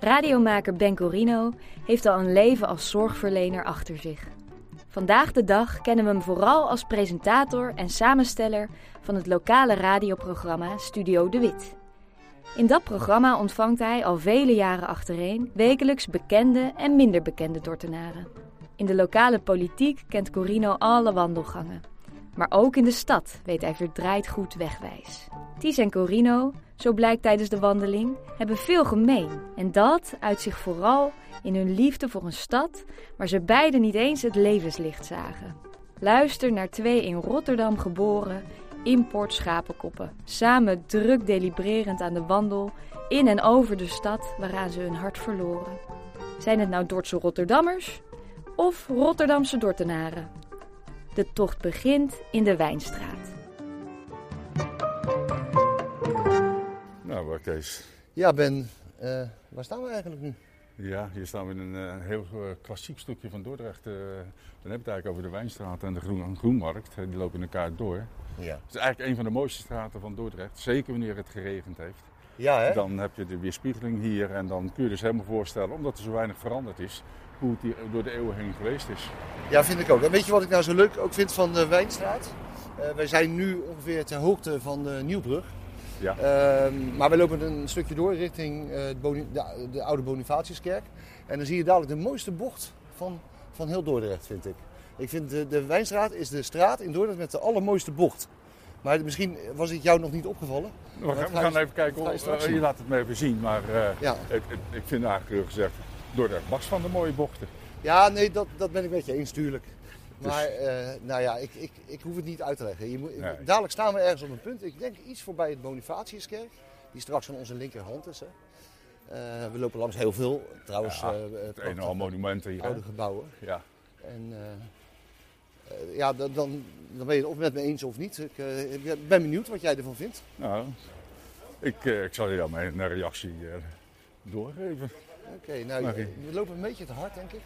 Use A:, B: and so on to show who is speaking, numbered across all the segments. A: Radiomaker Ben Corino heeft al een leven als zorgverlener achter zich. Vandaag de dag kennen we hem vooral als presentator en samensteller van het lokale radioprogramma Studio De Wit. In dat programma ontvangt hij al vele jaren achtereen wekelijks bekende en minder bekende Dordtenaren. In de lokale politiek kent Corino alle wandelgangen. Maar ook in de stad weet hij verdraaid goed wegwijs. Ties en Corino, zo blijkt tijdens de wandeling, hebben veel gemeen. En dat uit zich vooral in hun liefde voor een stad waar ze beiden niet eens het levenslicht zagen. Luister naar twee in Rotterdam geboren import schapenkoppen. Samen druk delibererend aan de wandel in en over de stad waaraan ze hun hart verloren. Zijn het nou Dordtse Rotterdammers of Rotterdamse Dortenaren? De tocht begint in de Wijnstraat.
B: Nou, wacht eens.
C: Ja, Ben, eh, waar staan we eigenlijk nu?
B: Ja, hier staan we in een eh, heel eh, klassiek stukje van Dordrecht. eh, dan heb je het eigenlijk over de Wijnstraat en de Groen, Groenmarkt. Eh, Die lopen elkaar door.
C: Ja,
B: Het is eigenlijk een van de mooiste straten van Dordrecht. Zeker wanneer het geregend heeft.
C: ja hè?
B: Dan heb je de weerspiegeling hier. En dan kun je dus helemaal voorstellen, omdat er zo weinig veranderd is, hoe het hier door de eeuwen heen geweest is.
C: Ja, vind ik ook. En weet je wat ik nou zo leuk ook vind van de Wijnstraat? Eh, wij zijn nu ongeveer ter hoogte van de Nieuwbrug.
B: Ja.
C: Ehm, maar we lopen een stukje door richting eh, het Boni- de, de oude Bonifatiuskerk. En dan zie je dadelijk de mooiste bocht van, van heel Dordrecht, vind ik. Ik vind de, de Wijnstraat is de straat in Dordrecht met de allermooiste bocht. Maar misschien was het jou nog niet opgevallen.
B: We gaan, we
C: ga je-
B: gaan even kijken.
C: dat ga je
B: of-
C: straks
B: eh, je
C: zien.
B: laat het me even zien. Maar eh,
C: Ja.
B: ik, ik, ik vind eigenlijk gezegd, Dordrecht was van de mooie bochten.
C: Ja, nee, dat, dat ben ik met je eens, tuurlijk.
B: Dus-
C: Maar eh, nou ja, ik, ik, ik hoef het niet uit te leggen. Je moet,
B: Nee.
C: Dadelijk staan we ergens op een punt. Ik denk iets voorbij het Bonifatiuskerk, die straks aan onze linkerhand is. Hè. Eh, we lopen langs heel veel, trouwens.
B: Ja,
C: eh,
B: Het
C: prachtige
B: een en al monumenten hier. hè?
C: Oude gebouwen.
B: Ja.
C: En eh, eh, ja, dan, dan, dan ben je het of met me eens of niet. Ik eh, ik ben benieuwd wat jij ervan vindt.
B: Nou, ik, eh, ik zal je dan mijn reactie eh, doorgeven.
C: Oké, nou,
B: Mag
C: je-
B: ik?
C: we lopen een beetje te hard, denk ik.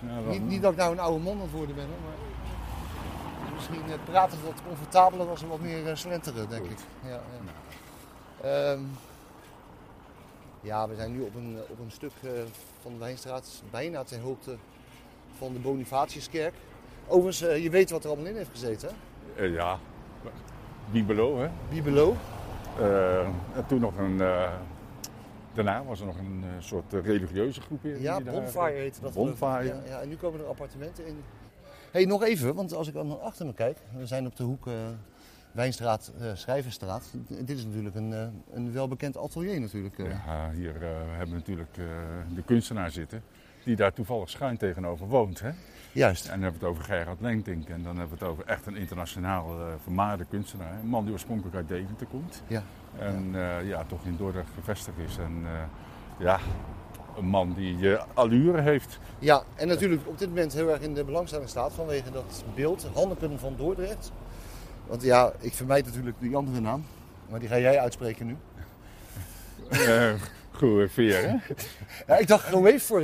B: Nou, dan-
C: Niet, niet dat ik nou een oude man aan het worden ben, hoor, maar misschien eh, praten we wat comfortabeler als we wat meer eh, slenteren, denk
B: Goed.
C: ik. Ja, ja. Ehm, ja, we zijn nu op een, eh, op een stuk eh, van de Wijnstraat, bijna ten hoogte van de Bonifatiuskerk. Overigens, eh, je weet wat er allemaal in heeft gezeten, hè?
B: eh, ja, Bibelo, hè.
C: Bibelo.
B: Eh, en toen nog een... eh, daarna was er nog een eh, soort eh, religieuze groepering.
C: Ja,
B: die daar-
C: Bonfire heette dat. geloof ik.
B: eh, Bonfire.
C: Ja, ja, en nu komen er appartementen in. hey, nog even, want als ik dan achter me kijk, we zijn op de hoek eh, Wijnstraat, eh, Schrijverstraat. D- Dit is natuurlijk een, eh, een welbekend atelier natuurlijk. eh.
B: Ja, hier eh, hebben we natuurlijk eh, de kunstenaar zitten. Die daar toevallig schuin tegenover woont. Hè? En
C: Juist.
B: dan hebben we het over Gerard Lengtink. En dan hebben we het over echt een internationaal eh, vermaarde kunstenaar. Een man die oorspronkelijk uit Deventer komt.
C: Ja.
B: En eh, ja, toch in Dordrecht gevestigd is. En eh, ja, een man die eh, allure heeft.
C: ja, en natuurlijk op dit moment heel erg in de belangstelling staat vanwege dat beeld Hanneken van Dordrecht. Want ja, ik vermijd natuurlijk die andere naam, maar die ga jij uitspreken nu.
B: eh Goeveer, hè?
C: Ja, ik dacht Goeef voor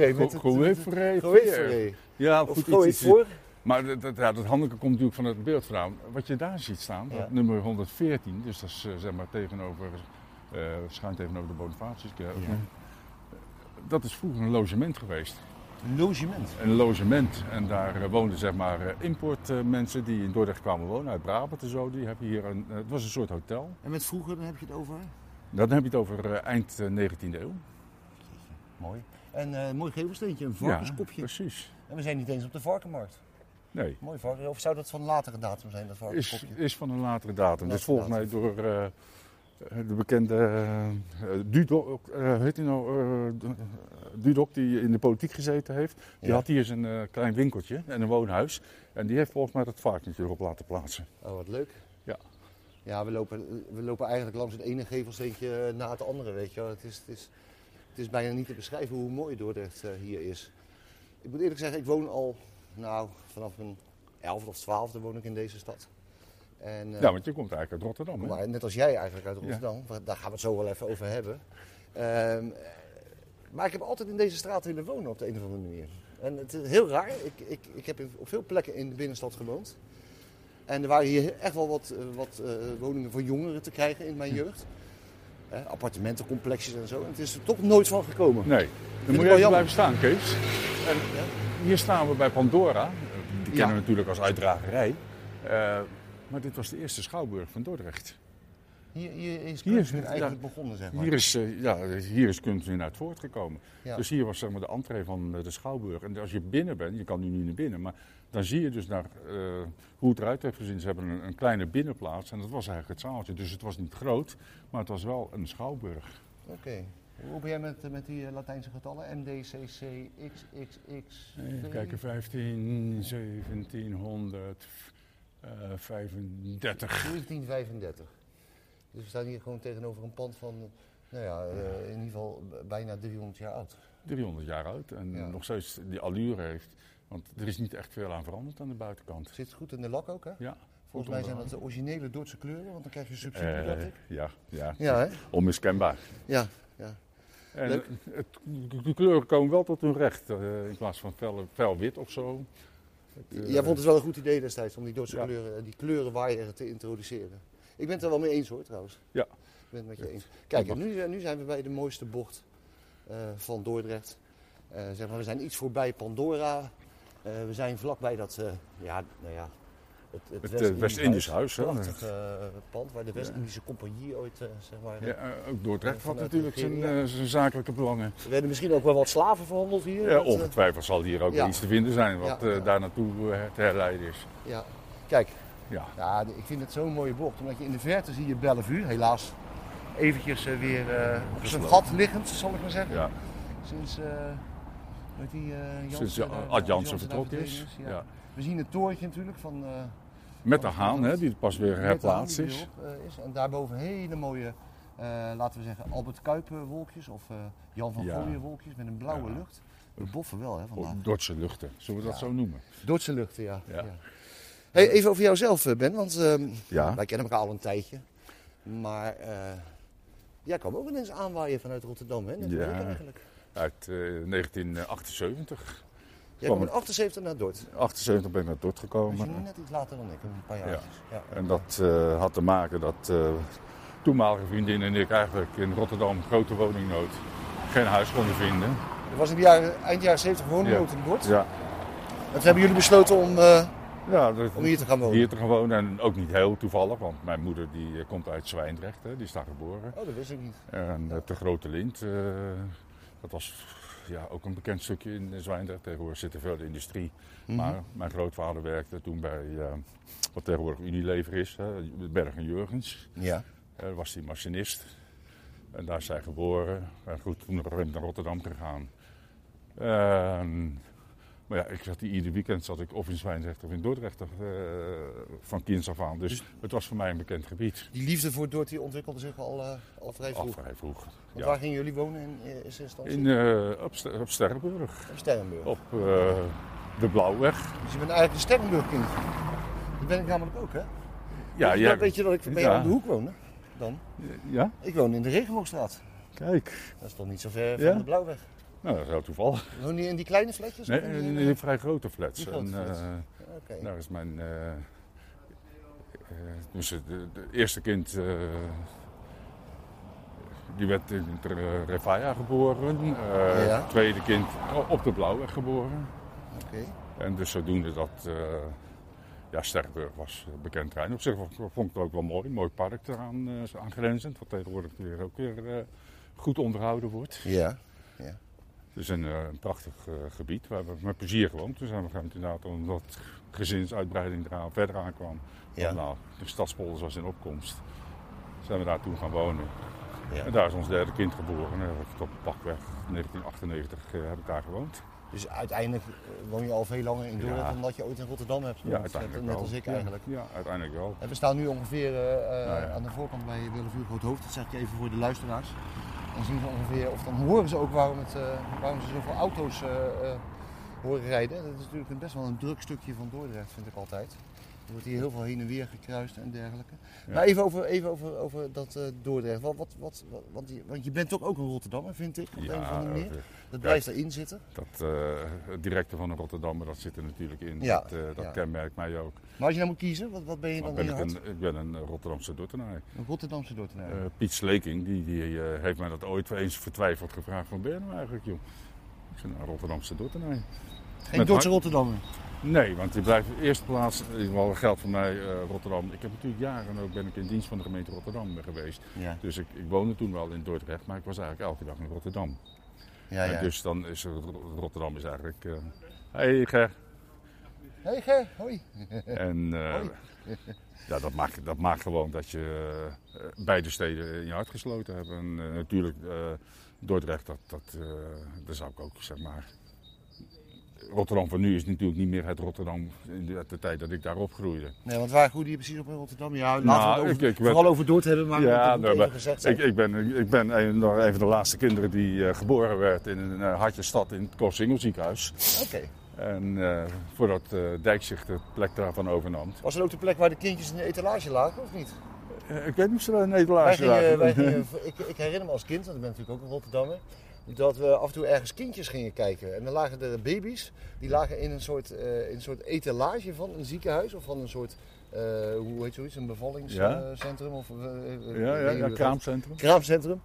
B: Goeveer. Ja,
C: Of
B: goed, iets-
C: Goeef
B: iets-
C: voor.
B: Maar dat, dat, ja, dat handelijke komt natuurlijk van het beeldvrouw. Wat je daar ziet staan, dat
C: Ja.
B: nummer 114, dus dat is eh, zeg maar tegenover, eh, schuin tegenover de Bonifatiuskerk.
C: Ja.
B: Dat is vroeger een logement geweest.
C: Logement.
B: Een logement. En daar eh, woonden zeg maar importmensen die in Dordrecht kwamen wonen, uit Brabant en zo. Die hebben hier een, eh, het was een soort hotel.
C: En met vroeger, dan heb je het over?
B: Dan heb je het over eh, eind eh, 19e eeuw.
C: Mooi. En eh, een mooi gevelsteentje, een
B: Ja, dus-
C: varkenskopje.
B: precies.
C: en we zijn niet eens op de varkenmarkt.
B: Nee,
C: Mooi varken. Of zou dat van latere datum zijn, dat
B: is,
C: varkenskopje?
B: is van een latere datum. Dus
C: Latere
B: volgens mij door eh, de bekende eh, Dudok, eh, heet hij nou, eh, de- Dudok, die in de politiek gezeten heeft. Die
C: Ja.
B: had hier zijn eh, klein winkeltje en een woonhuis. En die heeft volgens mij dat varkentje erop laten plaatsen.
C: Oh, wat leuk.
B: Ja.
C: Ja, we lopen, we lopen eigenlijk langs het ene gevelsteentje eh, na het andere, weet je wel. Het is, het is, het is bijna niet te beschrijven hoe mooi Dordrecht eh, hier is. Ik moet eerlijk zeggen, ik woon al, nou, vanaf mijn elfde of twaalfde woon ik in deze stad. En, eh,
B: Ja, want je komt eigenlijk uit Rotterdam. Hè?
C: Maar net als jij eigenlijk uit Rotterdam, want daar gaan we het zo wel even over hebben. Ehm, eh, maar ik heb altijd in deze straat willen wonen op de een of andere manier. En het is heel raar, ik, ik, ik heb in- op veel plekken in de binnenstad gewoond. En er waren hier echt wel wat, eh, wat eh, woningen voor jongeren te krijgen in mijn jeugd. Hè, appartementencomplexjes en zo. En het is er toch nooit van gekomen.
B: Nee. Dan
C: ik
B: moet je
C: wel
B: even
C: jammer.
B: blijven staan, Kees. En hier staan we bij Pandora. Die kennen
C: Ja.
B: we natuurlijk als uitdragerij. Eh, maar dit was de eerste schouwburg van Dordrecht.
C: Hier, hier is
B: Hier is
C: kunst
B: het,
C: eigenlijk
B: ja.
C: begonnen, zeg maar.
B: Hier is, eh, ja, hier is kunst nu naar het voortgekomen.
C: Ja.
B: Dus hier was zeg maar, de entree van eh, de schouwburg. En als je binnen bent, je kan nu niet naar binnen, maar dan zie je dus naar, eh, hoe het eruit heeft gezien. Ze hebben een, een kleine binnenplaats en dat was eigenlijk het zaaltje. Dus het was niet groot, maar het was wel een schouwburg.
C: Oké. Hoe ben jij met, eh, met die eh, Latijnse getallen? MDCC, XXX.
B: Even kijken, 15, eh, 1735.
C: 1935. Dus we staan hier gewoon tegenover een pand van, nou ja, eh, in ieder geval b- bijna 300 jaar oud.
B: 300 jaar oud en
C: Ja.
B: nog steeds die allure heeft. Want er is niet echt veel aan veranderd aan de buitenkant.
C: Zit goed in de lak ook, hè?
B: Ja,
C: Volgens mij zijn dat de originele Duitse kleuren, want dan krijg je subsidie,
B: Eh,
C: dacht ik.
B: ja, ja,
C: Ja, hè?
B: onmiskenbaar.
C: Ja, ja.
B: En
C: Leuk.
B: het, de kleuren komen wel tot hun recht, eh, in plaats van fel, fel wit of zo. Het, eh,
C: Jij vond het wel een goed idee destijds om die Duitse
B: Ja.
C: kleuren, eh, die kleurenwaaier te introduceren. Ik ben het er wel mee eens hoor, trouwens.
B: Ja.
C: Ik ben het met je eens. Kijk, en nu, nu zijn we bij de mooiste bocht eh, van Dordrecht. Eh, zeg maar, we zijn iets voorbij Pandora. Eh, we zijn vlakbij dat, eh, ja, nou ja, het,
B: Het, eh,
C: West-Indisch
B: West-Indisch Huis, hè.
C: Prachtig eh, pand waar de West-Indische Compagnie ooit, eh, zeg maar...
B: Ja, eh, ook Dordrecht had
C: Vanuit
B: natuurlijk zijn,
C: Nigeria.
B: eh, zijn zakelijke belangen.
C: Er werden misschien ook wel wat slaven verhandeld hier.
B: Ja,
C: dat, eh,
B: ongetwijfeld zal hier ook
C: ja.
B: wel iets te vinden zijn wat
C: Ja,
B: eh,
C: ja.
B: daar naartoe eh, te herleiden is.
C: ja. Kijk,
B: Ja.
C: Ja, de- ik vind het zo'n mooie bocht. Omdat je in de verte zie je Bellevue, helaas. Eventjes eh, weer eh, op zijn
B: Gesloten.
C: gat liggend, zal ik maar zeggen.
B: Ja,
C: Sinds, eh weet die, eh, Jansen
B: sinds eh,
C: daar-
B: Ad Jansen
C: daar
B: vertrokken is.
C: verdwenen
B: Ja.
C: We zien het torentje natuurlijk van... eh,
B: Met de haan, hè, die pas weer
C: met de
B: herplaatst
C: haan die
B: is.
C: erop, eh, is. En daarboven hele mooie, eh, laten we zeggen, Albert Kuip eh, wolkjes. Of eh, Jan van
B: Ja.
C: Gooijen wolkjes met een blauwe
B: Ja.
C: lucht. We boffen wel, hè, vandaag.
B: Dordtse luchten, zullen we dat
C: Ja.
B: zo noemen?
C: Dordtse luchten, ja.
B: Ja.
C: Ja. Hey, even over jouzelf, eh, Ben, want ehm,
B: Ja.
C: wij kennen elkaar al een tijdje. Maar eh, jij kwam ook ineens aanwaaien vanuit Rotterdam, hè? Net
B: Ja.
C: weet ik eigenlijk.
B: Uit eh, 1978.
C: Jij
B: Kwam
C: kwam in
B: ik.
C: 78 naar Dordt.
B: 78 ben ik naar Dort
C: Dus jullie
B: gekomen.
C: net iets later dan ik, een paar jaar.
B: Ja.
C: Ja.
B: En dat eh, had te maken dat eh, toenmalige vriendin en ik eigenlijk in Rotterdam grote woningnood geen huis konden vinden.
C: Er was in de jaren, eind jaren 70 gewoon
B: Ja.
C: nood in Dordt.
B: Ja,
C: En toen hebben jullie besloten om, eh,
B: ja dat-
C: om hier te gaan wonen.
B: hier te gaan wonen en ook niet heel toevallig, want mijn moeder die eh, komt uit Zwijndrecht, hè, die is daar geboren.
C: Oh, dat wist ik niet.
B: En eh, de Grote Lint, eh, dat was ja, ook een bekend stukje in eh, Zwijndrecht. Tegenwoordig zit er veel industrie.
C: Mhm.
B: Maar mijn grootvader werkte toen bij eh, wat tegenwoordig Unilever is, hè, Berg en Jurgens.
C: Ja.
B: Eh, was hij machinist. En daar is hij geboren. En goed, toen ben ik naar Rotterdam gegaan. En- maar ja, ik zat hier ieder weekend zat ik of in Zwijndrecht of in Dordrecht eh, van kinds af aan. Dus het was voor mij een bekend gebied.
C: Die liefde voor Dordt die ontwikkelde zich al, eh, al vrij vroeg.
B: Al
C: Want
B: vrij vroeg.
C: waar
B: Ja.
C: gingen jullie wonen in eh, eerste instantie?
B: In, eh, op, Ster- op Sterrenburg,
C: Op Sterrenburg.
B: op eh, de Blauwweg.
C: Dus je bent eigenlijk een Sterrenburg-kind. Dat ben ik namelijk ook, hè?
B: Ja,
C: weet, je,
B: jij-
C: dat- weet je dat ik bij
B: Ja.
C: jou om de hoek woon? hè? Dan?
B: ja,
C: Ik woon in de Regenboogstraat.
B: kijk.
C: Dat is toch niet zo ver
B: Ja?
C: van de Blauwweg?
B: Nou, dat is heel toevallig.
C: Woon je in die kleine flatjes?
B: Nee,
C: Of in die-
B: in een vrij grote flats.
C: eh, Die grote
B: En,
C: flats.
B: eh,
C: Oké.
B: Nou, is mijn. eh, eh, dus het de, de eerste kind. eh, die werd in het Re- Refaia geboren. Eh,
C: Ja.
B: Het tweede kind o- op de Blauwweg geboren.
C: Oké.
B: En dus zodoende dat. eh, ja, Sterrenburg was een bekend terrein. Op zich vond ik het ook wel mooi. Een mooi park eraan eh aangrenzend. Wat tegenwoordig weer ook weer eh, goed onderhouden wordt.
C: Ja.
B: Het is een, eh, een prachtig eh, gebied waar we met plezier gewoond. Toen zijn we gaan inderdaad omdat gezinsuitbreiding eraan verder aankwam.
C: Ja.
B: Nou, de stadspolders was in opkomst. Zijn we daar toen gaan wonen. En
C: ja.
B: daar is ons derde kind geboren. En heb ik tot pakweg 1998 eh, heb ik daar gewoond.
C: Dus uiteindelijk eh, woon je al veel langer in Dordrecht
B: Ja.
C: dan dat je ooit in Rotterdam hebt gewoond. net, net als ik
B: Ja,
C: eigenlijk.
B: Ja, uiteindelijk wel.
C: En we staan nu ongeveer eh, eh,
B: Nou ja.
C: aan de voorkant bij Willevue Groot Hoofd. Dat zeg ik even voor de luisteraars. Dan zien ze ongeveer, of dan horen ze ook waarom, het, eh, waarom ze zoveel auto's eh, eh, horen rijden. Dat is natuurlijk een- best wel een druk stukje van Dordrecht, vind ik altijd. Er wordt hier heel veel heen en weer gekruist en dergelijke.
B: Ja.
C: Maar even over, even over, over dat eh, Dordrecht. Wat, wat, wat, wat- want, je, want je bent toch ook een Rotterdammer, vind ik, op een of andere manier.
B: eh,
C: Dat blijft daarin zitten.
B: dat eh, het directe van een Rotterdammer, dat zit er natuurlijk in.
C: Ja,
B: dat eh, dat
C: ja.
B: kenmerkt mij ook.
C: Maar als je nou moet kiezen, wat, wat ben je
B: Maar
C: dan
B: ben
C: in je
B: ik,
C: hart?
B: een, ik ben een Rotterdamse Dordtenaar.
C: Een Rotterdamse Dordrecht.
B: Eh, Piet Sleking, die, die eh, heeft mij dat ooit eens vertwijfeld gevraagd. Van ben je nou eigenlijk, joh? Ik zei, nou, Rotterdamse Dordtenaar.
C: Geen
B: met
C: Dordtse
B: hart-
C: Rotterdammer.
B: Nee, want die blijft in eerste plaats, eh, in ieder geval geldt voor mij eh, Rotterdam. Ik heb natuurlijk jaren ook ben ik in dienst van de gemeente Rotterdam geweest.
C: Ja,
B: Dus ik, ik woonde toen wel in Dordrecht, maar ik was eigenlijk elke dag in Rotterdam.
C: ja,
B: En
C: ja.
B: dus dan is er- Rotterdam is eigenlijk... eh hey, Ger.
C: Hey Ger, hoi.
B: En eh,
C: Hoi.
B: ja, dat, maakt, dat maakt gewoon dat je eh, beide steden in je hart gesloten hebt. En eh, natuurlijk, eh, Dordrecht, dat, dat, eh, daar zou ik ook, zeg maar... Rotterdam van nu is natuurlijk niet meer het Rotterdam in de, uit de tijd dat ik daar opgroeide.
C: Nee, want waar groeide je precies op in Rotterdam? Ja, laten we
B: Nou,
C: het over,
B: ik- ik ben-
C: vooral over Dordt hebben, maar
B: Ja,
C: dat moet
B: nee,
C: even
B: maar
C: gezegd zijn.
B: Ik, ik ben, ik ben een, nog een van de laatste kinderen die eh, geboren werd in een eh, hartje stad in het Korsingel ziekenhuis.
C: Oké.
B: En eh, voordat eh Dijkzicht de plek daarvan overnam.
C: Was dat ook de plek waar de kindjes in de etalage lagen, of niet?
B: Eh, ik weet niet of ze daar een
C: Wij
B: etalage
C: gingen,
B: lagen.
C: wij gingen, ik, ik herinner me als kind, want ik ben natuurlijk ook een Rotterdammer, dat we af en toe ergens kindjes gingen kijken. En dan lagen er baby's, die lagen in een soort, eh, in een soort etalage van een ziekenhuis of van een soort, eh, hoe heet zoiets, een
B: Ja.
C: bevallingscentrum of... eh, eh, ik
B: Ja, ja,
C: weet niet hoe
B: ja,
C: dat heet.
B: kraamcentrum.
C: Kraamcentrum.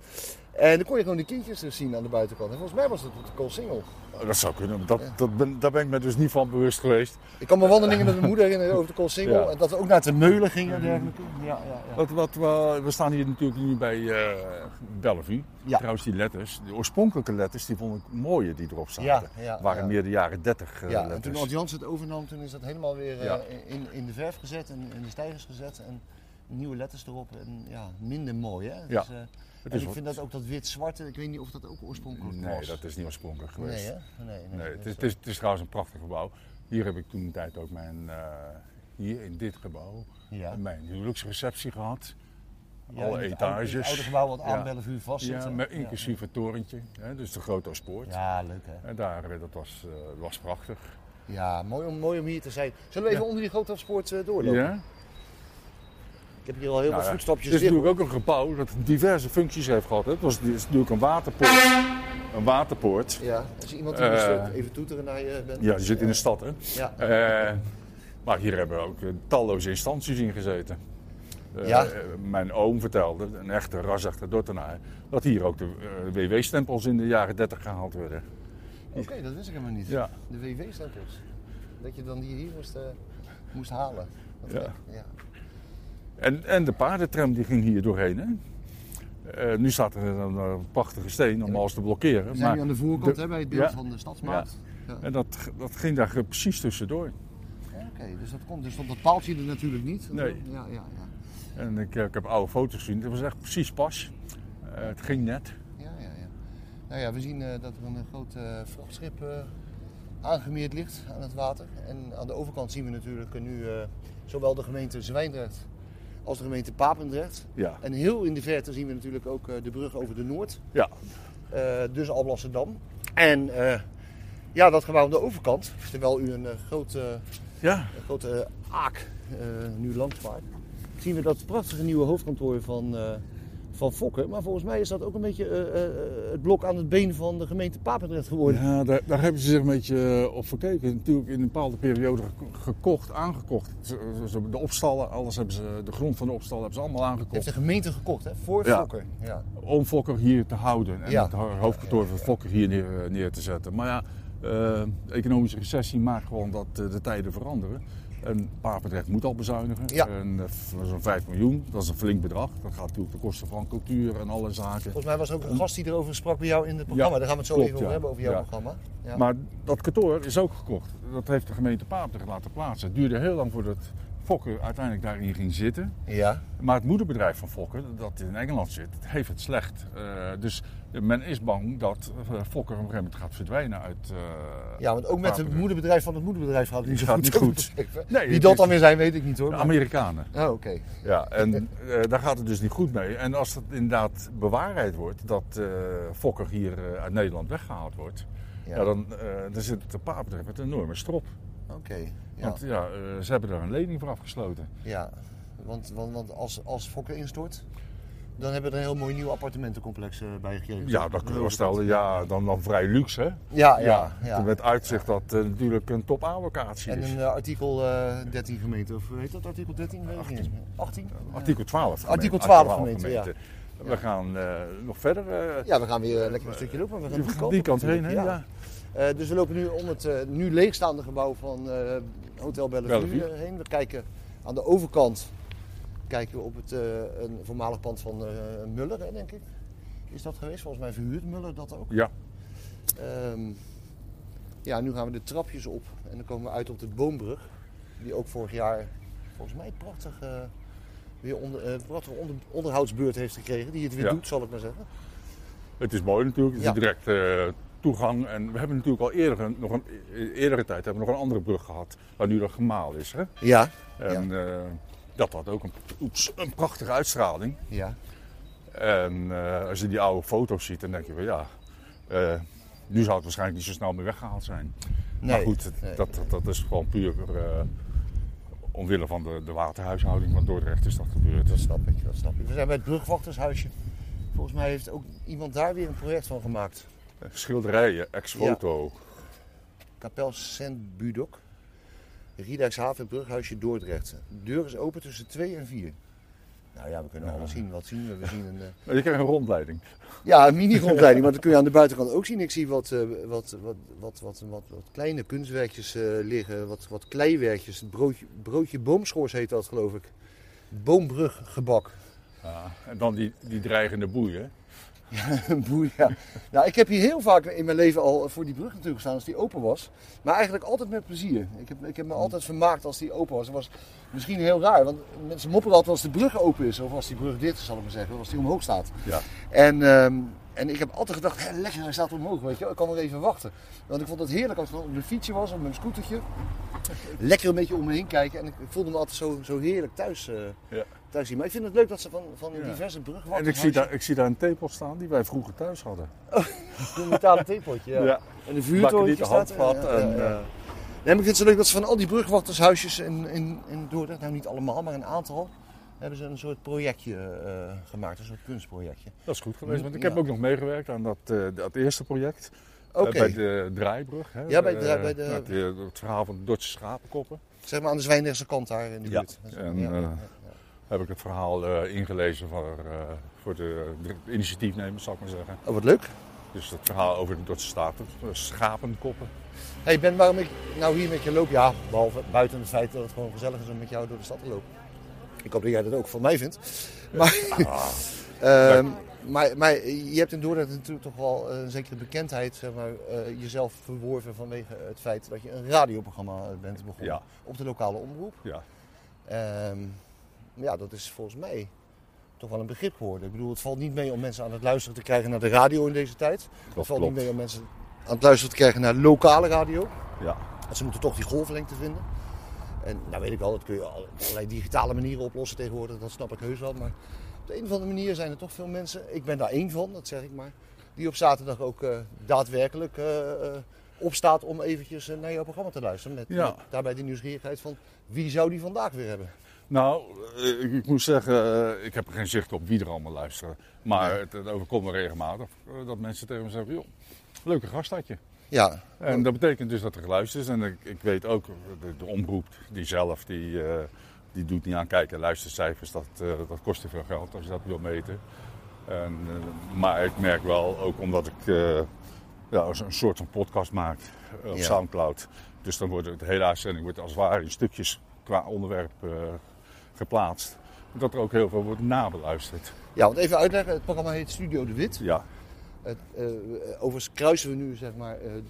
C: En dan kon je gewoon de kindjes dus zien aan de buitenkant. En volgens mij was dat op de Koolsingel.
B: Oh, dat zou kunnen, maar dat, dat ben, daar ben ik me dus niet van bewust geweest.
C: Ik kan me wandelingen met mijn moeder herinneren over de Koolsingel.
B: Ja. Mm-hmm.
C: En dat we ook naar de Meulen gingen en dergelijke. Ja, ja, ja.
B: Wat, wat, we- we staan hier natuurlijk nu bij eh, Bellevue.
C: Ja.
B: Trouwens, die letters, de oorspronkelijke letters, die vond ik mooier die erop zaten.
C: Ja, ja,
B: waren
C: ja.
B: meer de jaren 30 eh,
C: Ja, en toen
B: letters.
C: Ad Jans het overnam, toen is dat helemaal weer eh,
B: Ja.
C: in, in de verf gezet en in de stijgers gezet en nieuwe letters erop. En ja, minder mooi hè. Het
B: Ja,
C: is, eh,
B: Het
C: en
B: is
C: ik
B: wat-
C: vind dat ook dat wit-zwarte, ik weet niet of dat ook oorspronkelijk
B: Nee,
C: was.
B: dat is niet oorspronkelijk geweest.
C: Nee, hè? Nee, nee,
B: Nee, het, is,
C: dat,
B: het, is, het is trouwens een prachtig gebouw. Hier heb ik toen een tijd ook mijn, eh, hier in dit gebouw,
C: Ja.
B: mijn huwelijksreceptie gehad.
C: ja,
B: alle
C: in het oude-
B: etages.
C: Het oude gebouw wat aan
B: Ja.
C: Bellevue vast zit.
B: ja,
C: hè?
B: met inclusief het torentje, hè, dus de grote spoort.
C: Ja, ja, leuk hè.
B: En daar, eh, dat was, eh, was prachtig.
C: Ja, mooi om, mooi om hier te zijn. Zullen we even onder die grote spoort eh, doorlopen? Ik heb hier al heel
B: Nou
C: veel
B: ja,
C: voetstapjes
B: Het is
C: dicht.
B: natuurlijk ook een gebouw dat diverse functies heeft gehad. hè. Het was het is natuurlijk een waterpoort. Een waterpoort.
C: Ja, als iemand die
B: Eh,
C: besluit even toeteren naar je bent.
B: Ja, je zit in de stad, hè.
C: Ja.
B: Eh, maar hier hebben ook eh, talloze instanties in gezeten. Eh,
C: Ja.
B: eh, Mijn oom vertelde, een echte rasachter Dortenaar, dat hier ook de eh, WW-stempels in de jaren 30 gehaald werden.
C: Oké, dat wist ik helemaal niet.
B: Ja.
C: De WW-stempels. Dat je dan die hier moest, eh, moest halen. Dat
B: Ja.
C: gek. ja.
B: En, en de paardentram die ging hier doorheen. Hè? Eh, nu staat er een, eh, prachtige steen om alles te blokkeren.
C: We zijn nu aan de voorkant hè, bij het beeld
B: ja.
C: van de stadsmarkt. Ja.
B: En dat, dat ging daar eh, precies tussendoor.
C: Oké, dus dat komt. Dus stond dat paaltje er natuurlijk niet.
B: Nee.
C: Ja, ja, ja.
B: En ik, eh, ik heb oude foto's gezien. Het was echt precies pas. Eh, het ging net.
C: ja, ja, ja. Nou ja, we zien eh, dat er een groot eh, vrachtschip eh, aangemeerd ligt aan het water. En aan de overkant zien we natuurlijk eh, nu eh, zowel de gemeente Zwijndrecht als de gemeente Papendrecht.
B: Ja.
C: En heel in de verte zien we natuurlijk ook eh, de brug over de Noord.
B: Ja.
C: Eh, dus Alblasserdam. En eh, ja, dat gebouw aan de overkant, terwijl u een eh, groot, eh,
B: Ja.
C: een grote eh, aak eh, nu langs vaart, zien we dat prachtige nieuwe hoofdkantoor van, eh, van Fokker. Maar volgens mij is dat ook een beetje eh, eh, het blok aan het been van de gemeente Papendrecht geworden.
B: Ja, daar, daar hebben ze zich een beetje eh, op verkeken. Natuurlijk in een bepaalde periode gek- gekocht, aangekocht. Ze- ze- De opstallen, alles hebben ze, de grond van de opstallen hebben ze allemaal
C: Heeft
B: aangekocht.
C: de gemeente gekocht, hè? Voor
B: Ja.
C: Fokker. Ja.
B: Om Fokker hier te houden en
C: Ja.
B: het ho- hoofdkantoor van Fokker hier neer, eh, neer te zetten. Maar ja, eh, economische recessie maakt gewoon dat eh, de tijden veranderen. En Papendrecht moet al bezuinigen.
C: Ja.
B: En eh, f- zo'n 5 miljoen, dat is een flink bedrag. Dat gaat natuurlijk ten koste van cultuur en alle zaken.
C: Volgens mij was er ook een gast die erover sprak bij jou in het programma. Daar gaan we het zo
B: klopt,
C: even over
B: ja.
C: hebben, over jouw
B: Ja.
C: programma. Ja.
B: Maar dat kantoor is ook gekocht. Dat heeft de gemeente Papendrecht laten plaatsen. Het duurde heel lang voordat Fokker uiteindelijk daarin ging zitten.
C: ja.
B: Maar het moederbedrijf van Fokker, dat in Engeland zit, heeft het slecht. Eh, dus men is bang dat eh, Fokker op een gegeven moment gaat verdwijnen uit. eh,
C: Ja, want ook met het
B: Papendrecht.
C: moederbedrijf van het moederbedrijf gaat het niet zo
B: Gaat
C: goed.
B: niet goed. Nee,
C: Wie
B: het
C: dat
B: is-
C: dan weer zijn, weet ik niet hoor.
B: De
C: maar-
B: Amerikanen.
C: Oh, oké.
B: Ja, en eh, daar gaat het dus niet goed mee. En als het inderdaad bewaarheid wordt dat eh, Fokker hier eh, uit Nederland weggehaald wordt, ja.
C: Ja.
B: dan, eh, dan zit de Papendrecht met een enorme strop.
C: Oké. Ja,
B: Want ja, eh, ze hebben daar een lening voor afgesloten.
C: Ja, want, want, want als, als Fokker instort, dan hebben we er een heel mooi nieuw appartementencomplex eh, bij gekregen.
B: Ja, dat kunnen we wel stellen. Ja, dan, dan vrij luxe, hè?
C: Ja, ja. ja.
B: Met uitzicht dat eh, natuurlijk een top A-locatie
C: En
B: is.
C: een eh, artikel eh, 13 gemeente, of heet dat artikel 13? Weet ik niet eens meer. 18?
B: Artikel 12 gemeente.
C: Artikel 12 gemeente,
B: We gaan eh, nog verder. eh,
C: Ja, we gaan weer eh, lekker een stukje lopen. We gaan
B: die-
C: goedkoper
B: die kant heen, hè?
C: natuurlijk,
B: Ja.
C: Eh, dus we lopen nu om het eh, nu leegstaande gebouw van eh, Hotel Bellevue,
B: Bellevue.
C: eh, heen. We kijken aan de overkant kijken we op het, eh, een voormalig pand van eh, Muller, hè, denk ik. Is dat geweest? Volgens mij verhuurt Muller dat ook.
B: ja.
C: Ehm, ja, nu gaan we de trapjes op en dan komen we uit op de Boombrug. Die ook vorig jaar volgens mij prachtig, eh, weer onder, eh, prachtige onder, onderhoudsbeurt heeft gekregen. Die het weer
B: Ja.
C: doet, zal ik maar zeggen.
B: Het is mooi natuurlijk, het is
C: Ja.
B: direct eh, toegang. En we hebben natuurlijk al eerder, een- nog een e- eerdere tijd hebben we nog een andere brug gehad, waar nu dat gemaal is. Hè?
C: Ja.
B: En eh, dat had ook een, oeps, een prachtige uitstraling.
C: Ja.
B: En eh, als je die oude foto's ziet, dan denk je van ja, eh, nu zou het waarschijnlijk niet zo snel meer weggehaald zijn.
C: Nee.
B: maar Nou goed, het-
C: nee.
B: dat, dat, dat is gewoon puur eh, omwille van de, de waterhuishouding van Dordrecht is dat gebeurd.
C: Dat snap ik, dat snap ik. We zijn bij het brugwachtershuisje. Volgens mij heeft ook iemand daar weer een project van gemaakt.
B: Schilderijen, eh, ex-foto.
C: Kapel Sint-Budok. Riedijkshaven, brughuisje Dordrecht. Deur is open tussen 2 en 4. Nou ja, we kunnen alles zien. Wat zien we? We zien een... eh,
B: Je krijgt een rondleiding.
C: Ja, een mini-grondleiding, maar dat kun je aan de buitenkant ook zien. Ik zie wat, eh, wat, wat, wat, wat, wat, wat kleine kunstwerkjes eh, liggen, wat, wat kleiwerkjes. Het Broodje, broodje boomschors heet dat, geloof ik. Boombruggebak.
B: Ja, en dan die, die dreigende boeien.
C: Een boei, ja. Nou, ik heb hier heel vaak in mijn leven al voor die brug natuurlijk gestaan als die open was. Maar eigenlijk altijd met plezier. Ik heb, ik heb me altijd vermaakt als die open was. Dat was misschien heel raar, want mensen mopperen altijd als de brug open is. Of als die brug dit, zal ik maar zeggen, of als die omhoog staat.
B: Ja.
C: En, ehm, en ik heb altijd gedacht, hè, lekker, hij staat omhoog, weet je wel. Ik kan er even wachten. Want ik vond het heerlijk als ik dan op mijn fietsje was, op mijn scootertje. Lekker een beetje om me heen kijken. En ik, ik voelde me altijd zo, zo heerlijk thuis, eh,
B: Ja.
C: thuis hier. Maar ik vind het leuk dat ze van, van
B: Ja.
C: diverse brugwachters...
B: En ik zie, daar, ik zie daar een theepot staan die wij vroeger thuis hadden.
C: Een metalen theepotje, ja. En de
B: Bakken
C: vuurtorentje
B: niet de
C: staat.
B: handvat.
C: eh, ja, ja,
B: en, eh,
C: ja. Nee, maar ik vind het zo leuk dat ze van al die brugwachtershuisjes in, in, in Dordrecht, nou niet allemaal, maar een aantal, hebben ze een soort projectje eh, gemaakt, een soort kunstprojectje.
B: dat is goed geweest, want ik
C: Ja.
B: heb ook nog meegewerkt aan dat, eh, dat eerste project.
C: Oké,
B: Eh, bij de draaibrug. Hè,
C: Ja, bij de draai-
B: Eh,
C: bij de-
B: met, eh, het verhaal van de Duitse schapenkoppen.
C: zeg maar aan de Zwijndrechtse kant daar in de
B: Ja.
C: buurt. Dat is-
B: En, eh, Heb ik het verhaal eh, ingelezen voor, eh, voor de, de initiatiefnemers, zal ik maar zeggen.
C: Oh, wat leuk.
B: Dus het verhaal over de Duitse staten, eh, schapenkoppen.
C: hey Ben, waarom ik nou hier met je loop? Ja, behalve buiten het feit dat het gewoon gezellig is om met jou door de stad te lopen. Ik hoop dat jij dat ook van mij vindt. Maar,
B: Ah,
C: Ehm, maar, maar je hebt in Dordrecht natuurlijk toch wel een zekere bekendheid, zeg maar, eh, jezelf verworven vanwege het feit dat je een radioprogramma eh, bent begonnen
B: Ja.
C: op de lokale omroep.
B: Ja.
C: Ehm, ja, dat is volgens mij toch wel een begrip geworden. Ik bedoel, het valt niet mee om mensen aan het luisteren te krijgen naar de radio in deze tijd.
B: Dat
C: het valt
B: klopt.
C: niet mee om mensen aan het luisteren te krijgen naar lokale radio.
B: Ja.
C: Want ze moeten toch die golflengte vinden. En nou weet ik wel, dat kun je al- op allerlei digitale manieren oplossen tegenwoordig. Dat snap ik heus wel. Maar op de een of andere manier zijn er toch veel mensen, ik ben daar één van, dat zeg ik maar. Die op zaterdag ook eh, daadwerkelijk eh, eh, opstaat om eventjes eh, naar jouw programma te luisteren. Met,
B: Ja.
C: met daarbij die nieuwsgierigheid van wie zou die vandaag weer hebben.
B: Nou, eh, ik, ik moet zeggen, eh, ik heb er geen zicht op wie er allemaal luisteren. Maar het, het overkomt me regelmatig eh, dat mensen tegen me zeggen, joh, leuke gast had je.
C: Ja,
B: En dat betekent dus dat er geluisterd is. En ik, ik weet ook, de, de omroep die zelf, die, eh, die doet niet aan kijken. Luistercijfers, dat, eh, dat kost te veel geld als je dat wil meten. En, eh, maar ik merk wel, ook omdat ik eh, ja, zo- een soort van podcast maak eh, op
C: Ja.
B: Soundcloud. Dus dan wordt het- de hele uitzending wordt als het ware in stukjes qua onderwerp eh, geplaatst. Dat er ook heel veel wordt nabeluisterd.
C: ja, want even uitleggen, het programma heet Studio de Wit.
B: Ja,
C: Het, eh, overigens kruisen we nu zeg maar, eh, eh,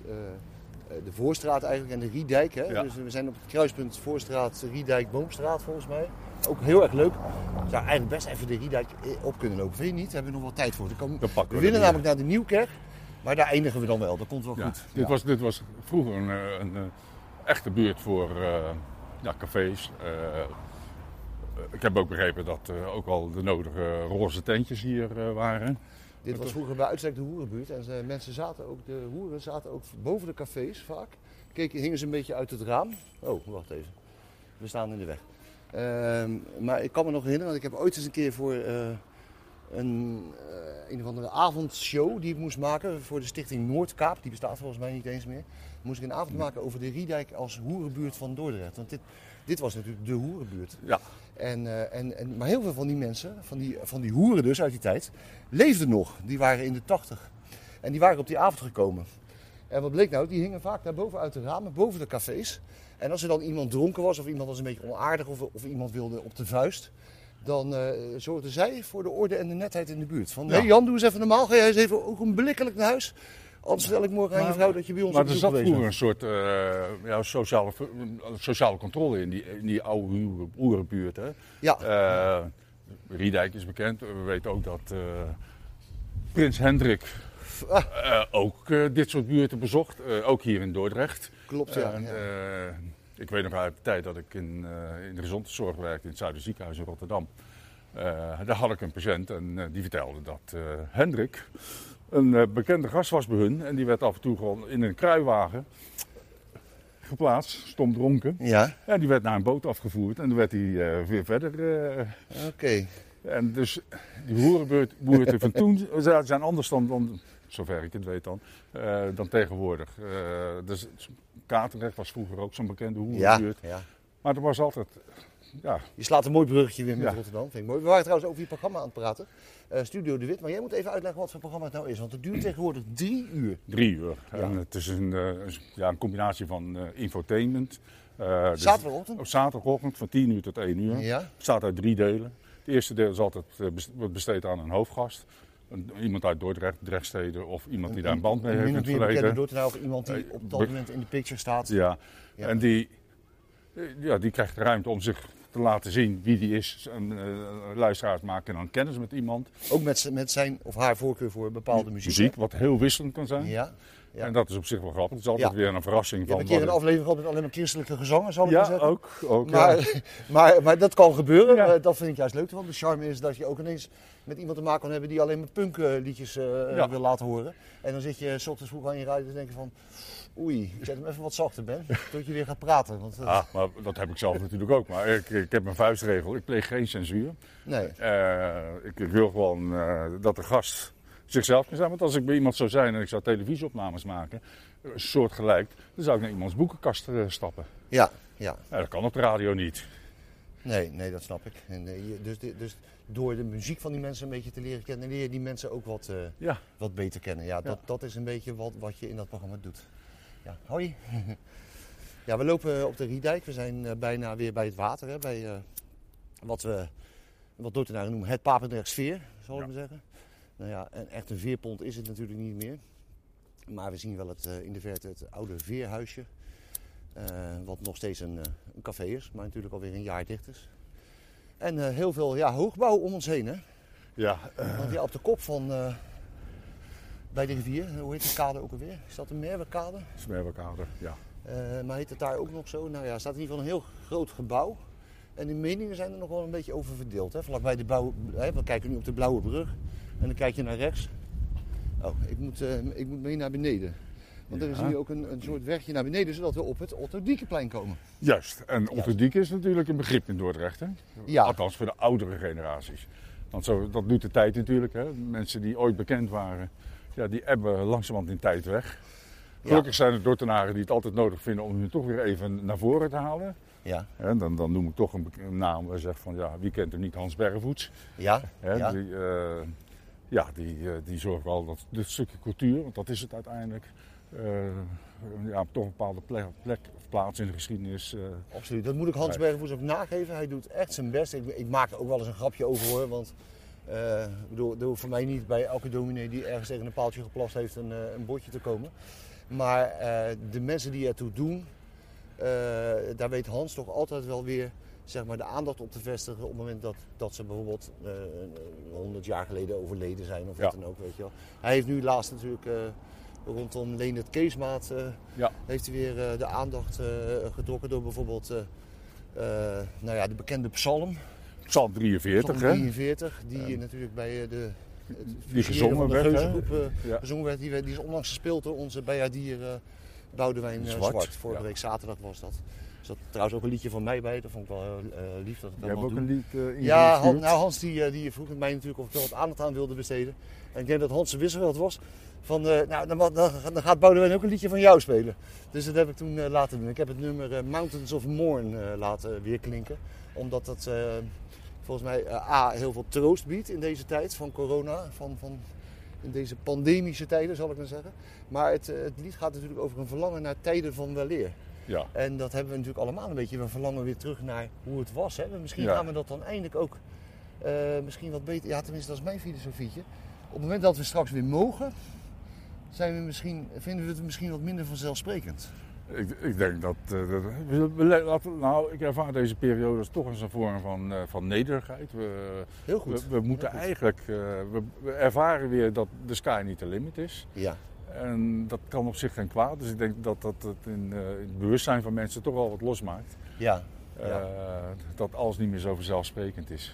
C: de Voorstraat eigenlijk en de Riedijk. Hè?
B: Ja.
C: Dus we zijn op het kruispunt Voorstraat, Riedijk, Boomstraat volgens mij. Ook heel erg leuk. We zou eigenlijk best even de Riedijk eh, op kunnen lopen. Vind je niet? Daar hebben we nog wel tijd voor. Dan komen-
B: Dan pakken we
C: we willen
B: er
C: namelijk naar de Nieuwkerk. Maar daar eindigen we dan wel. Dat komt wel
B: ja.
C: goed.
B: Dit,
C: Ja.
B: Was, dit was vroeger een, eh, een eh, echte buurt voor eh, ja, cafés. Eh, ik heb ook begrepen dat er ook al de nodige roze tentjes hier eh, waren.
C: Dit was vroeger bij uitstek de hoerenbuurt. En eh, mensen zaten ook, de hoeren zaten ook boven de cafés vaak. keek, hingen ze een beetje uit het raam. Oh, wacht even. We staan in de weg. Ehm, maar ik kan me nog herinneren, want ik heb ooit eens een keer voor eh, een, eh, een of andere avondshow die ik moest maken voor de stichting Noordkaap, die bestaat volgens mij niet eens meer, moest ik een avond maken over de Riedijk als hoerenbuurt van Dordrecht. Want dit, dit was natuurlijk de hoerenbuurt.
B: Ja.
C: En, eh, en, en, maar heel veel van die mensen, van die, van die hoeren dus uit die tijd, leefden nog. Die waren in de tachtig. En die waren op die avond gekomen. En wat bleek nou? Die hingen vaak daar boven uit de ramen, boven de cafés. En als er dan iemand dronken was, of iemand was een beetje onaardig, of, of iemand wilde op de vuist. Dan eh zorgden zij voor de orde en de netheid in de buurt. Van,
B: Ja.
C: hé Jan, doe eens even normaal. Ga jij eens even ook onblikkelijk naar huis. Anders vertel ik morgen aan je vrouw dat je bij ons
B: Maar
C: op
B: er
C: bezoek
B: zat
C: geweest
B: vroeger een soort eh, ja, sociale, sociale controle in die, in die oude hoer- hoerenbuurt. Hè?
C: bent. Ja,
B: Eh, Riedijk is bekend. We weten ook dat eh, Prins Hendrik eh, ook eh, dit soort buurten bezocht. Eh, ook hier in Dordrecht.
C: klopt ja.
B: En,
C: ja.
B: eh, ik weet nog uit de tijd dat ik in, eh, in de gezondheidszorg werkte in het Zuiderziekenhuis in Rotterdam. Eh, daar had ik een patiënt en eh, die vertelde dat eh, Hendrik een eh, bekende gast was bij hun. En die werd af en toe gewoon in een kruiwagen geplaatst, stom dronken.
C: Ja,
B: En die werd naar een boot afgevoerd en dan werd hij eh, weer verder. eh,
C: oké.
B: en dus die hoerenbuurt- boerten van toen ze zijn anders dan, dan zover ik het weet dan, eh, dan tegenwoordig. Eh, dus Katendrecht was vroeger ook zo'n bekende
C: Ja,
B: hoerenbuurt.
C: ja.
B: Maar er was altijd, ja,
C: Je slaat een mooi bruggetje weer met
B: Ja.
C: Rotterdam. Vind ik mooi. We waren trouwens over je programma aan het praten. Eh, Studio De Wit. Maar jij moet even uitleggen wat voor programma het nou is. Want het duurt tegenwoordig drie uur.
B: drie uur.
C: Ja.
B: En het is een, eh, een s- ja, een combinatie van eh, infotainment. eh, dus
C: Zaterdagochtend.
B: op zaterdagochtend van 10 uur tot 1 uur.
C: Ja.
B: bestaat uit drie delen. Het eerste deel is altijd, eh, bes- wordt besteed aan een hoofdgast. Een- iemand uit Dordrecht, Drechtsteden of iemand die daar een band mee heeft in
C: Min of
B: het
C: meer bekende
B: verleden.
C: Dordtenaar Nou, of iemand die
B: Eh,
C: op
B: be-
C: dat moment in de picture staat.
B: Ja.
C: Ja.
B: En die, eh, ja, die krijgt ruimte om zich te laten zien wie die is. En, eh, luisteraars maken dan kennis met iemand.
C: Ook met, z- met zijn of haar voorkeur voor bepaalde muziek.
B: Muziek, wat heel wisselend kan
C: hè?
B: zijn.
C: Ja. ja.
B: En dat is op zich wel grappig. Het is altijd
C: Ja.
B: weer een verrassing
C: Je hebt
B: van
C: een keer een
B: wat-
C: aflevering gehad met alleen maar christelijke gezangen, zal ik maar
B: Ja,
C: zeggen.
B: ook. ook
C: Maar,
B: ja.
C: maar, maar dat kan gebeuren.
B: Ja.
C: Eh, dat vind ik juist leuk. Want de charme is dat je ook ineens met iemand te maken kan hebben die alleen maar punkliedjes eh
B: Ja.
C: wil laten horen. En dan zit je s ochtends vroeg aan je radio te denken van... Oei, ik zet hem even wat zachter, Ben. Tot je weer gaat praten. Want, eh,
B: Ah, maar dat heb ik zelf natuurlijk ook. Maar ik, ik heb mijn vuistregel. Ik pleeg geen censuur.
C: Nee.
B: Eh, ik, ik wil gewoon eh, dat de gast zichzelf kan zijn. Want als ik bij iemand zou zijn en ik zou televisieopnames maken, eh, soortgelijk, dan zou ik naar iemands boekenkast eh, stappen.
C: Ja, ja.
B: Ja, dat kan op de radio niet.
C: Nee, nee, dat snap ik. En, eh, je- dus, dus door de muziek van die mensen een beetje te leren kennen, leer je die mensen ook wat, eh,
B: Ja.
C: wat beter kennen. Ja, dat, dat is een beetje wat, wat je in dat programma doet. Ja, hoi. ja, we lopen op de Riedijk. We zijn eh, bijna weer bij het water. Hè, bij eh, wat we wat Dordtenaren noemen het Papendrechts veer, zal ik
B: Ja.
C: maar zeggen. Nou ja, en echt een veerpont is het natuurlijk niet meer. Maar we zien wel het, eh, in de verte het oude veerhuisje. eh, wat nog steeds een, eh, een café is, maar natuurlijk alweer een jaar dicht is. En eh, heel veel ja, hoogbouw om ons heen. Hè?
B: Ja,
C: Want ja, op de kop van. eh, bij de rivier, hoe heet die kade ook alweer? Is dat de Merwekade?
B: smerwekouder. Ja.
C: Eh, maar heet het daar ook nog zo? Nou ja, er staat in ieder geval een heel groot gebouw. En de meningen zijn er nog wel een beetje over verdeeld. Hè? Vlakbij de bouw, hè, we kijken nu op de Blauwe Brug. En dan kijk je naar rechts. Oh, ik moet, eh, ik moet mee naar beneden. Want er is
B: Ja.
C: nu ook een, een soort wegje naar beneden, zodat we op het Otto Diekenplein komen.
B: Juist. En Otterdiek is natuurlijk een begrip in Dordrecht. Hè?
C: Ja.
B: Althans voor de oudere generaties. Want zo, dat doet de tijd natuurlijk. Hè? Mensen die ooit bekend waren, ja, die hebben langzamerhand in tijd weg. Gelukkig zijn er Dordtenaren die het altijd nodig vinden om hun toch weer even naar voren te halen.
C: Ja,
B: Hè, dan, dan noem ik toch een, bek- een naam waar je zegt van ja, wie kent er niet Hans Berrevoets?
C: ja,
B: Hè, Die, eh, ja, die, eh, die zorgt wel dat dit stukje cultuur, want dat is het uiteindelijk, eh, ja, op toch een bepaalde plek, plek of plaats in de geschiedenis. eh,
C: Absoluut, dat moet ik Hans
B: Ja.
C: Bergvoets ook nageven. Hij doet echt zijn best. Ik, ik maak er ook wel eens een grapje over hoor. Want eh, ik bedoel, er hoeft voor mij niet bij elke dominee die ergens tegen een paaltje geplast heeft een, eh, een bordje te komen. Maar eh, de mensen die ertoe doen, eh, daar weet Hans toch altijd wel weer zeg maar, de aandacht op te vestigen. Op het moment dat, dat ze bijvoorbeeld eh, een- een 100 jaar geleden overleden zijn of wat
B: Ja.
C: dan ook. Weet je wel. Hij heeft nu laatst natuurlijk eh, rondom Leendert Keesmaat... eh,
B: ja,
C: heeft hij weer eh, de aandacht eh, getrokken door bijvoorbeeld eh, eh, nou ja, de bekende psalm,
B: Psalm 43,
C: psalm
B: hè?
C: 43, die eh, natuurlijk bij eh, de het fuseren
B: gezongen
C: van de
B: werd, hè?
C: geuzengroep eh,
B: Ja.
C: gezongen werd. Die, werd- die is onlangs gespeeld door onze Bayardier eh Boudewijn eh,
B: Zwart,
C: Zwart. Vorige
B: ja.
C: week zaterdag was dat. Er zat trouwens ook een liedje van mij bij. Dat vond ik wel heel eh, lief dat ik
B: Jij
C: dat
B: hebt
C: mocht
B: ook
C: doen.
B: een lied eh in
C: Ja, Han- nou, Hans die, eh, die vroeg het mij natuurlijk of ik er wat aandacht aan wilde besteden. En ik denk dat Hans zijn wissel wel het was. Van, eh, nou, dan, mag- dan, dan gaat Boudewijn ook een liedje van jou spelen. Dus dat heb ik toen eh, laten doen. Ik heb het nummer eh, Mountains of Morn eh, laten weer klinken. Omdat dat eh, volgens mij eh, A, heel veel troost biedt in deze tijd van corona. Van, van in deze pandemische tijden, zal ik maar zeggen. Maar het, eh, het lied gaat natuurlijk over een verlangen naar tijden van weleer.
B: Ja,
C: En dat hebben we natuurlijk allemaal een beetje. We verlangen weer terug naar hoe het was. Hè? Misschien
B: Ja.
C: gaan we dat dan eindelijk ook eh, misschien wat beter. Ja, tenminste, dat is mijn filosofietje. Op het moment dat we straks weer mogen, zijn we misschien, vinden we het misschien wat minder vanzelfsprekend.
B: ik, ik denk dat... eh, dat- we- we- laten- nou, ik ervaar deze periode als toch als een vorm van, eh, van nederigheid. We,
C: Heel goed.
B: we, we moeten
C: Heel goed.
B: eigenlijk... eh, we, we ervaren weer dat de sky niet de limit is.
C: Ja,
B: En dat kan op zich geen kwaad. Dus ik denk dat dat het in, eh, in het bewustzijn van mensen toch al wat losmaakt.
C: ja. Ja.
B: Eh, dat alles niet meer zo vanzelfsprekend is.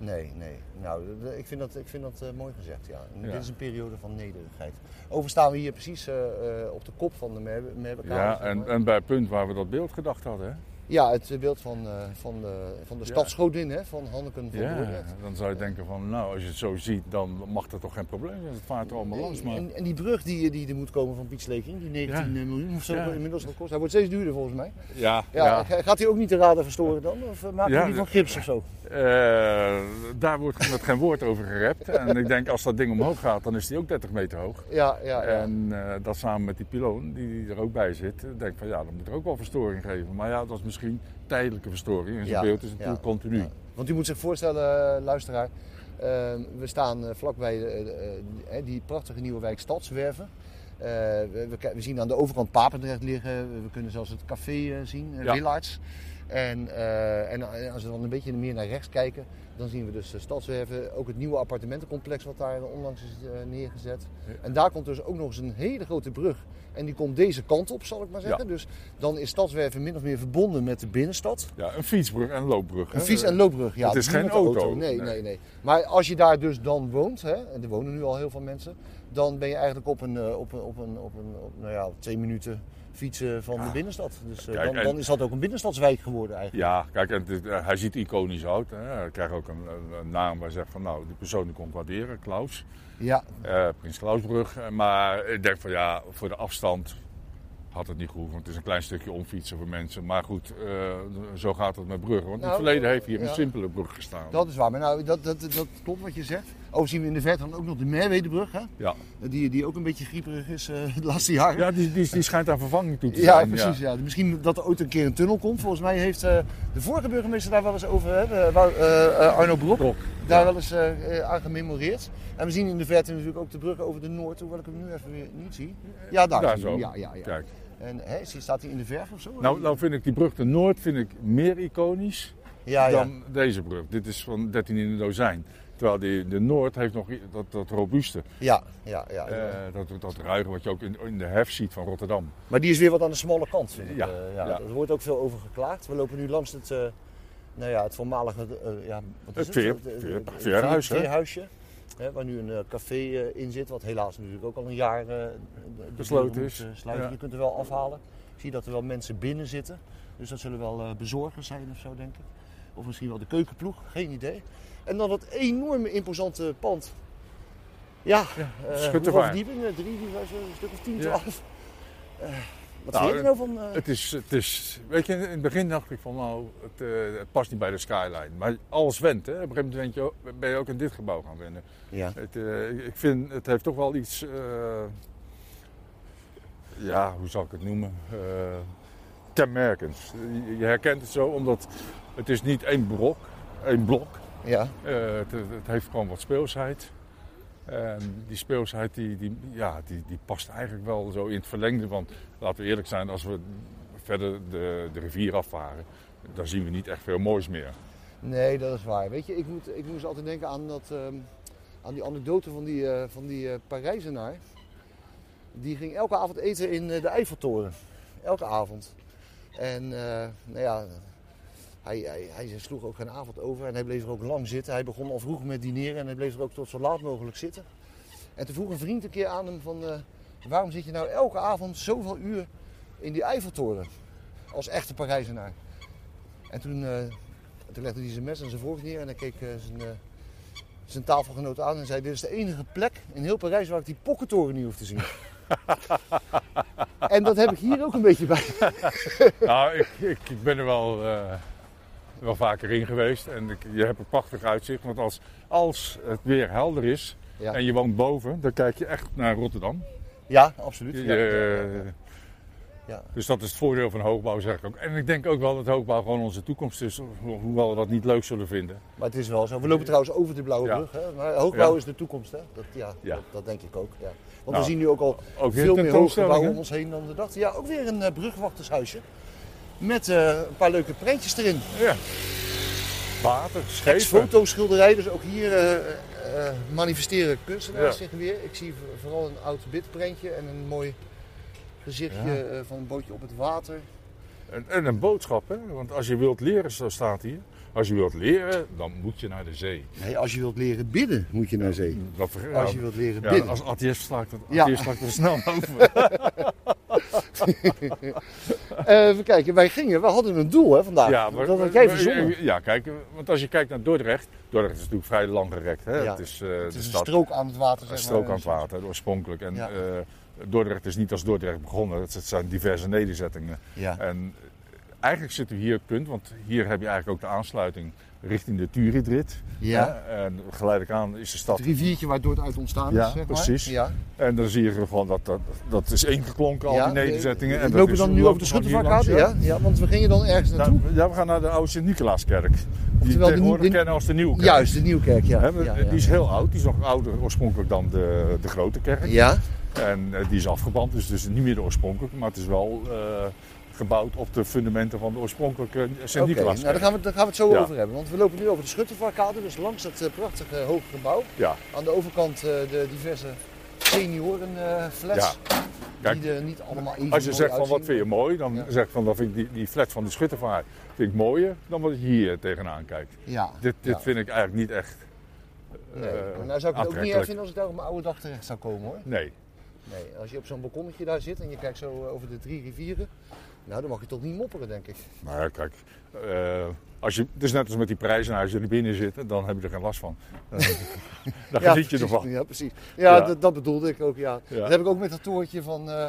C: Nee, nee. Nou, d- d- ik vind dat, ik vind dat eh, mooi gezegd, ja. En
B: Ja.
C: Dit is een periode van nederigheid. Over staan we hier precies eh, eh, op de kop van de Merwe- Merwekade.
B: Ja,
C: zeg maar.
B: en, en bij het punt waar we dat beeld gedacht hadden. Hè?
C: ja, het beeld van, eh, van de, van de
B: Ja.
C: stadsgodin, hè, van Hanneken van
B: Ja,
C: Dordrecht.
B: dan zou je denken van, nou, als je het zo ziet, dan mag dat toch geen probleem zijn. Het vaart er allemaal
C: Nee,
B: langs, maar...
C: En, en die brug die, die er moet komen van Piet Sleking, die 19 miljoen of zo
B: Ja.
C: inmiddels al kost, hij wordt steeds duurder volgens mij.
B: Ja,
C: Ja, ga- Gaat hij ook niet de radar verstoren dan? Of eh, maakt
B: Ja,
C: hij die van
B: ja.
C: gips of zo?
B: Eh, daar wordt met geen woord over gerept. En ik denk, als dat ding omhoog gaat, dan is die ook 30 meter hoog.
C: Ja, ja, ja.
B: En eh, dat samen met die piloon, die, die er ook bij zit, eh, denk ik van ja, dan moet er ook wel verstoring geven. Maar ja, dat is misschien tijdelijke verstoring. En zo'n
C: Ja,
B: beeld is natuurlijk
C: ja,
B: continu.
C: ja. Want u moet zich voorstellen, eh, luisteraar, eh, we staan eh, vlakbij eh, eh, eh, die prachtige nieuwe wijk Stadswerven. Eh, we, we, ki- we zien aan de overkant Papendrecht liggen, we kunnen zelfs het café eh, zien, eh,
B: Ja.
C: Willards. En, eh, en eh, als we dan een beetje meer naar rechts kijken, dan zien we dus eh, Stadswerven, ook het nieuwe appartementencomplex wat daar onlangs is eh, neergezet.
B: Ja.
C: En daar komt dus ook nog eens een hele grote brug. En die komt deze kant op, zal ik maar zeggen. Dus dan is Stadswerven min of meer verbonden met de binnenstad.
B: Ja, een fietsbrug en een loopbrug. hè.
C: Een fiets- en loopbrug, ja.
B: Het is
C: niet
B: geen
C: met de
B: auto.
C: Nee, nee,
B: Nee.
C: nee, Maar als je daar dus dan woont, hè, en er wonen nu al heel veel mensen, dan ben je eigenlijk op een, eh, op een, op een, op een op, nou ja, twee minuten fietsen van de binnenstad. Dus eh,
B: Ah. Kijk,
C: dan,
B: en-
C: dan is dat ook een binnenstadswijk geworden eigenlijk.
B: Ja, kijk, en het- eh, hij ziet iconisch uit. Hè. Hij krijgt ook een, een- een naam waar hij zegt van nou, die persoon die komt waarderen, Klaus.
C: Ja,
B: Eh, Prins Klausbrug. Eh, Maar ik denk van ja, voor de afstand had het niet gehoeven. Want het is een klein stukje omfietsen voor mensen. Maar goed, eh, zo gaat het met bruggen. Want in het
C: Nou,
B: verleden heeft hier
C: ja.
B: een simpele brug gestaan.
C: dat is waar. Maar nou, dat, dat, dat klopt wat je zegt. Overigens zien we in de verte dan ook nog de Merwedebrug, hè?
B: Ja,
C: Die, die ook een beetje grieperig is eh, de laatste jaren.
B: ja die, die, die schijnt aan vervanging toe te
C: Ja,
B: zijn.
C: precies. Ja. Misschien dat er ooit een keer een tunnel komt. Volgens mij heeft eh, de vorige burgemeester daar wel eens over, hè, de- Wou- eh, eh, Arno Brok,
B: Brok,
C: daar
B: ja.
C: wel eens eh, eh, aan gememoreerd. En we zien in de verte natuurlijk ook de brug over de Noord, hoewel ik hem nu even weer niet zie. Ja, daar,
B: Daar
C: zie je
B: zo.
C: hem. Ja, ja, ja.
B: Kijk.
C: En hè, is die- staat hij in de verf of zo?
B: Nou, nou vind ik die brug de Noord vind ik meer iconisch
C: ja, ja.
B: dan deze brug. Dit is van 13 in een dozijn. Terwijl die, de Noord heeft nog i- dat, dat robuuste,
C: ja, ja, ja, ja.
B: eh, dat, dat ruige wat je ook in, in de hef ziet van Rotterdam.
C: Maar die is weer wat aan de smalle kant. Vind ik.
B: Ja,
C: Ja, ja.
B: ja.
C: Er wordt ook veel over geklaagd. We lopen nu langs het, eh, nou ja, het voormalige eh, ja, wat is
B: Het veer-
C: Eh, eh,
B: veer-
C: eh,
B: veerhuis, hè?
C: veerhuisje. Hè, waar nu een eh, café eh, in zit, wat helaas natuurlijk ook al een jaar eh, de deuren
B: Gesloten
C: moet,
B: is.
C: eh, sluiten.
B: Ja.
C: Je kunt er wel afhalen. Ik zie dat er wel mensen binnen zitten. Dus dat zullen wel eh, bezorgers zijn of zo, denk ik. Of misschien wel de keukenploeg, geen idee. En dan dat enorme imposante pand. Ja, eh,
B: schuttervaar.
C: hoeveel verdiepingen? Drie, vier, vijf, een stuk of tien,
B: Ja.
C: twaalf. Eh, wat
B: Nou,
C: vind je er nou van? eh,
B: Het is, het is, weet je, in het begin dacht ik van nou, het, eh, het past niet bij de skyline. Maar alles went, hè. Op een gegeven moment wend je ook- ben je ook in dit gebouw gaan wennen.
C: Ja.
B: Het, eh, ik- ik vind, het heeft toch wel iets, eh, ja, hoe zal ik het noemen, Eh kenmerkends. Je- Je herkent het zo, omdat het is niet één blok, één blok.
C: Ja.
B: Eh, het, het heeft gewoon wat speelsheid. En die speelsheid die, die, ja, die, die past eigenlijk wel zo in het verlengde. Want laten we eerlijk zijn, als we verder de, de rivier afvaren, dan zien we niet echt veel moois meer.
C: Nee, dat is waar. Weet je, ik, moet, ik moest altijd denken aan, dat, ehm, aan die anekdote van die, eh, van die eh, Parijzenaar. Die ging elke avond eten in eh, de Eiffeltoren. Elke avond. En eh, nou ja, hij, hij, hij sloeg ook geen avond over en hij bleef er ook lang zitten. Hij begon al vroeg met dineren en hij bleef er ook tot zo laat mogelijk zitten. En toen vroeg een vriend een keer aan hem van... eh, waarom zit je nou elke avond zoveel uur in die Eiffeltoren. Als echte Parijzenaar. En toen, eh, toen legde hij zijn mes en zijn vork neer en hij keek eh, zijn, eh, zijn tafelgenoot aan en zei: Dit is de enige plek in heel Parijs waar ik die pokkentoren niet hoef te zien. en dat heb ik hier ook een beetje bij.
B: Nou, ik, ik, ik ben er wel, eh, wel vaker in geweest. En ik, je hebt een prachtig uitzicht. Want als, als het weer helder is
C: Ja.
B: en je woont boven, dan kijk je echt naar Rotterdam.
C: Ja, absoluut.
B: Je-
C: Ja, ja, ja,
B: eh,
C: Ja.
B: Dus dat is het voordeel van hoogbouw, zeg ik ook. En ik denk ook wel dat hoogbouw gewoon onze toekomst is. ho- Hoewel we dat niet leuk zullen vinden.
C: Maar het is wel zo. We lopen trouwens over de Blauwe
B: Ja.
C: Brug. Hè? Maar hoogbouw
B: Ja.
C: is de toekomst. Hè? Dat, ja,
B: Ja.
C: Dat, dat denk ik ook. Ja. Want
B: Nou,
C: we zien nu ook al
B: Ook weer
C: veel meer hoogbouw om
B: tentoonstellingen.
C: ons heen dan we dachten. Ja, ook weer een eh, brugwachtershuisje. Met eh, een paar leuke prentjes erin.
B: Ja. Water,
C: Ex
B: schepen.
C: fotoschilderij, dus ook hier eh, eh, manifesteren kunstenaars
B: Ja.
C: zich weer. Ik zie v- vooral een oud bitprentje en een mooi gezichtje
B: Ja.
C: eh, van een bootje op het water.
B: En, en een boodschap, hè. Want als je wilt leren, zo staat hier. Als je wilt leren, dan moet je naar de zee.
C: Nee, als je wilt leren bidden, moet je naar zee.
B: Dat, ver-
C: Als je wilt leren
B: Ja,
C: bidden.
B: als atheïst sla ik dat
C: Ja.
B: atheïst sla ik er snel over.
C: Eh, even kijken, wij gingen, we hadden een doel hè, vandaag. dat had jij verzonnen.
B: Ja, kijk, want als je kijkt naar Dordrecht. Dordrecht is natuurlijk vrij langgerekt. Hè?
C: Ja.
B: Het is, eh,
C: Het
B: de
C: is een
B: stad,
C: strook aan het water.
B: een
C: Zeg
B: strook
C: maar.
B: aan het water, oorspronkelijk. En
C: Ja.
B: eh, Dordrecht is niet als Dordrecht begonnen. Het zijn diverse nederzettingen.
C: Ja.
B: En eh, eigenlijk zitten we hier op het punt, want hier heb je eigenlijk ook de aansluiting richting de Turidrit.
C: ja.
B: hè. En geleidelijk aan is de stad.
C: Het riviertje waardoor het uit ontstaan
B: Ja,
C: is. Zeg maar.
B: precies.
C: Ja.
B: En dan zie je gewoon dat dat, dat is ingeklonken, al
C: Ja,
B: die nederzettingen.
C: we
B: en dat
C: lopen
B: is-
C: dan nu
B: lopen
C: over de
B: gewoon hier
C: Schuttervakkade,
B: langs,
C: ja? ja, want we gingen dan ergens
B: Nou,
C: naartoe.
B: ja, we gaan naar de oude Sint-Nicolaaskerk. Die
C: Oftewel
B: we
C: de
B: tegenwoordig
C: nieuw- de-
B: kennen als de Nieuwe Kerk.
C: Juist, de Nieuwkerk, ja.
B: Hè, we-
C: ja,
B: Die is heel oud, die is nog ouder oorspronkelijk dan de, de Grote Kerk.
C: Ja,
B: En eh, die is afgebrand, dus, dus niet meer de oorspronkelijke, maar het is wel eh, gebouwd op de fundamenten van de oorspronkelijke
C: oké. Nou,
B: Sint-Nicolaaskerk.
C: daar, gaan we- daar gaan we het zo
B: Ja.
C: over hebben. Want we lopen nu over de Schuttervarkade, dus langs dat eh, prachtige hoge gebouw.
B: Ja,
C: Aan de overkant eh, de diverse seniorenflats.
B: Kijk,
C: die er niet allemaal even
B: als je
C: mooi
B: zegt van wat
C: uitzien.
B: vind je mooi, dan
C: Ja.
B: zeg ik van dat vind ik die, die flat van de Schuttervaart vind ik mooier dan wat je hier tegenaan kijkt.
C: Ja,
B: Dit, dit
C: ja.
B: vind ik eigenlijk niet echt eh,
C: Nee, maar nou zou ik het ook niet
B: aantrekkelijk.
C: erg vinden als ik daar op mijn oude dag terecht zou komen hoor.
B: Nee,
C: Nee, als je op zo'n balkonnetje daar zit en je kijkt zo eh, over de drie rivieren, nou dan mag je toch niet mopperen denk ik.
B: Nou ja, kijk. eh, als je, het is net als met die prijzen. Als je er binnen zit, dan heb je er geen last van. Eh, Dan, dan geniet je
C: precies,
B: ervan.
C: Ja, precies. Ja,
B: Ja.
C: Dat, dat bedoelde ik ook, ja.
B: Ja.
C: Dat heb ik ook met dat torentje van, eh,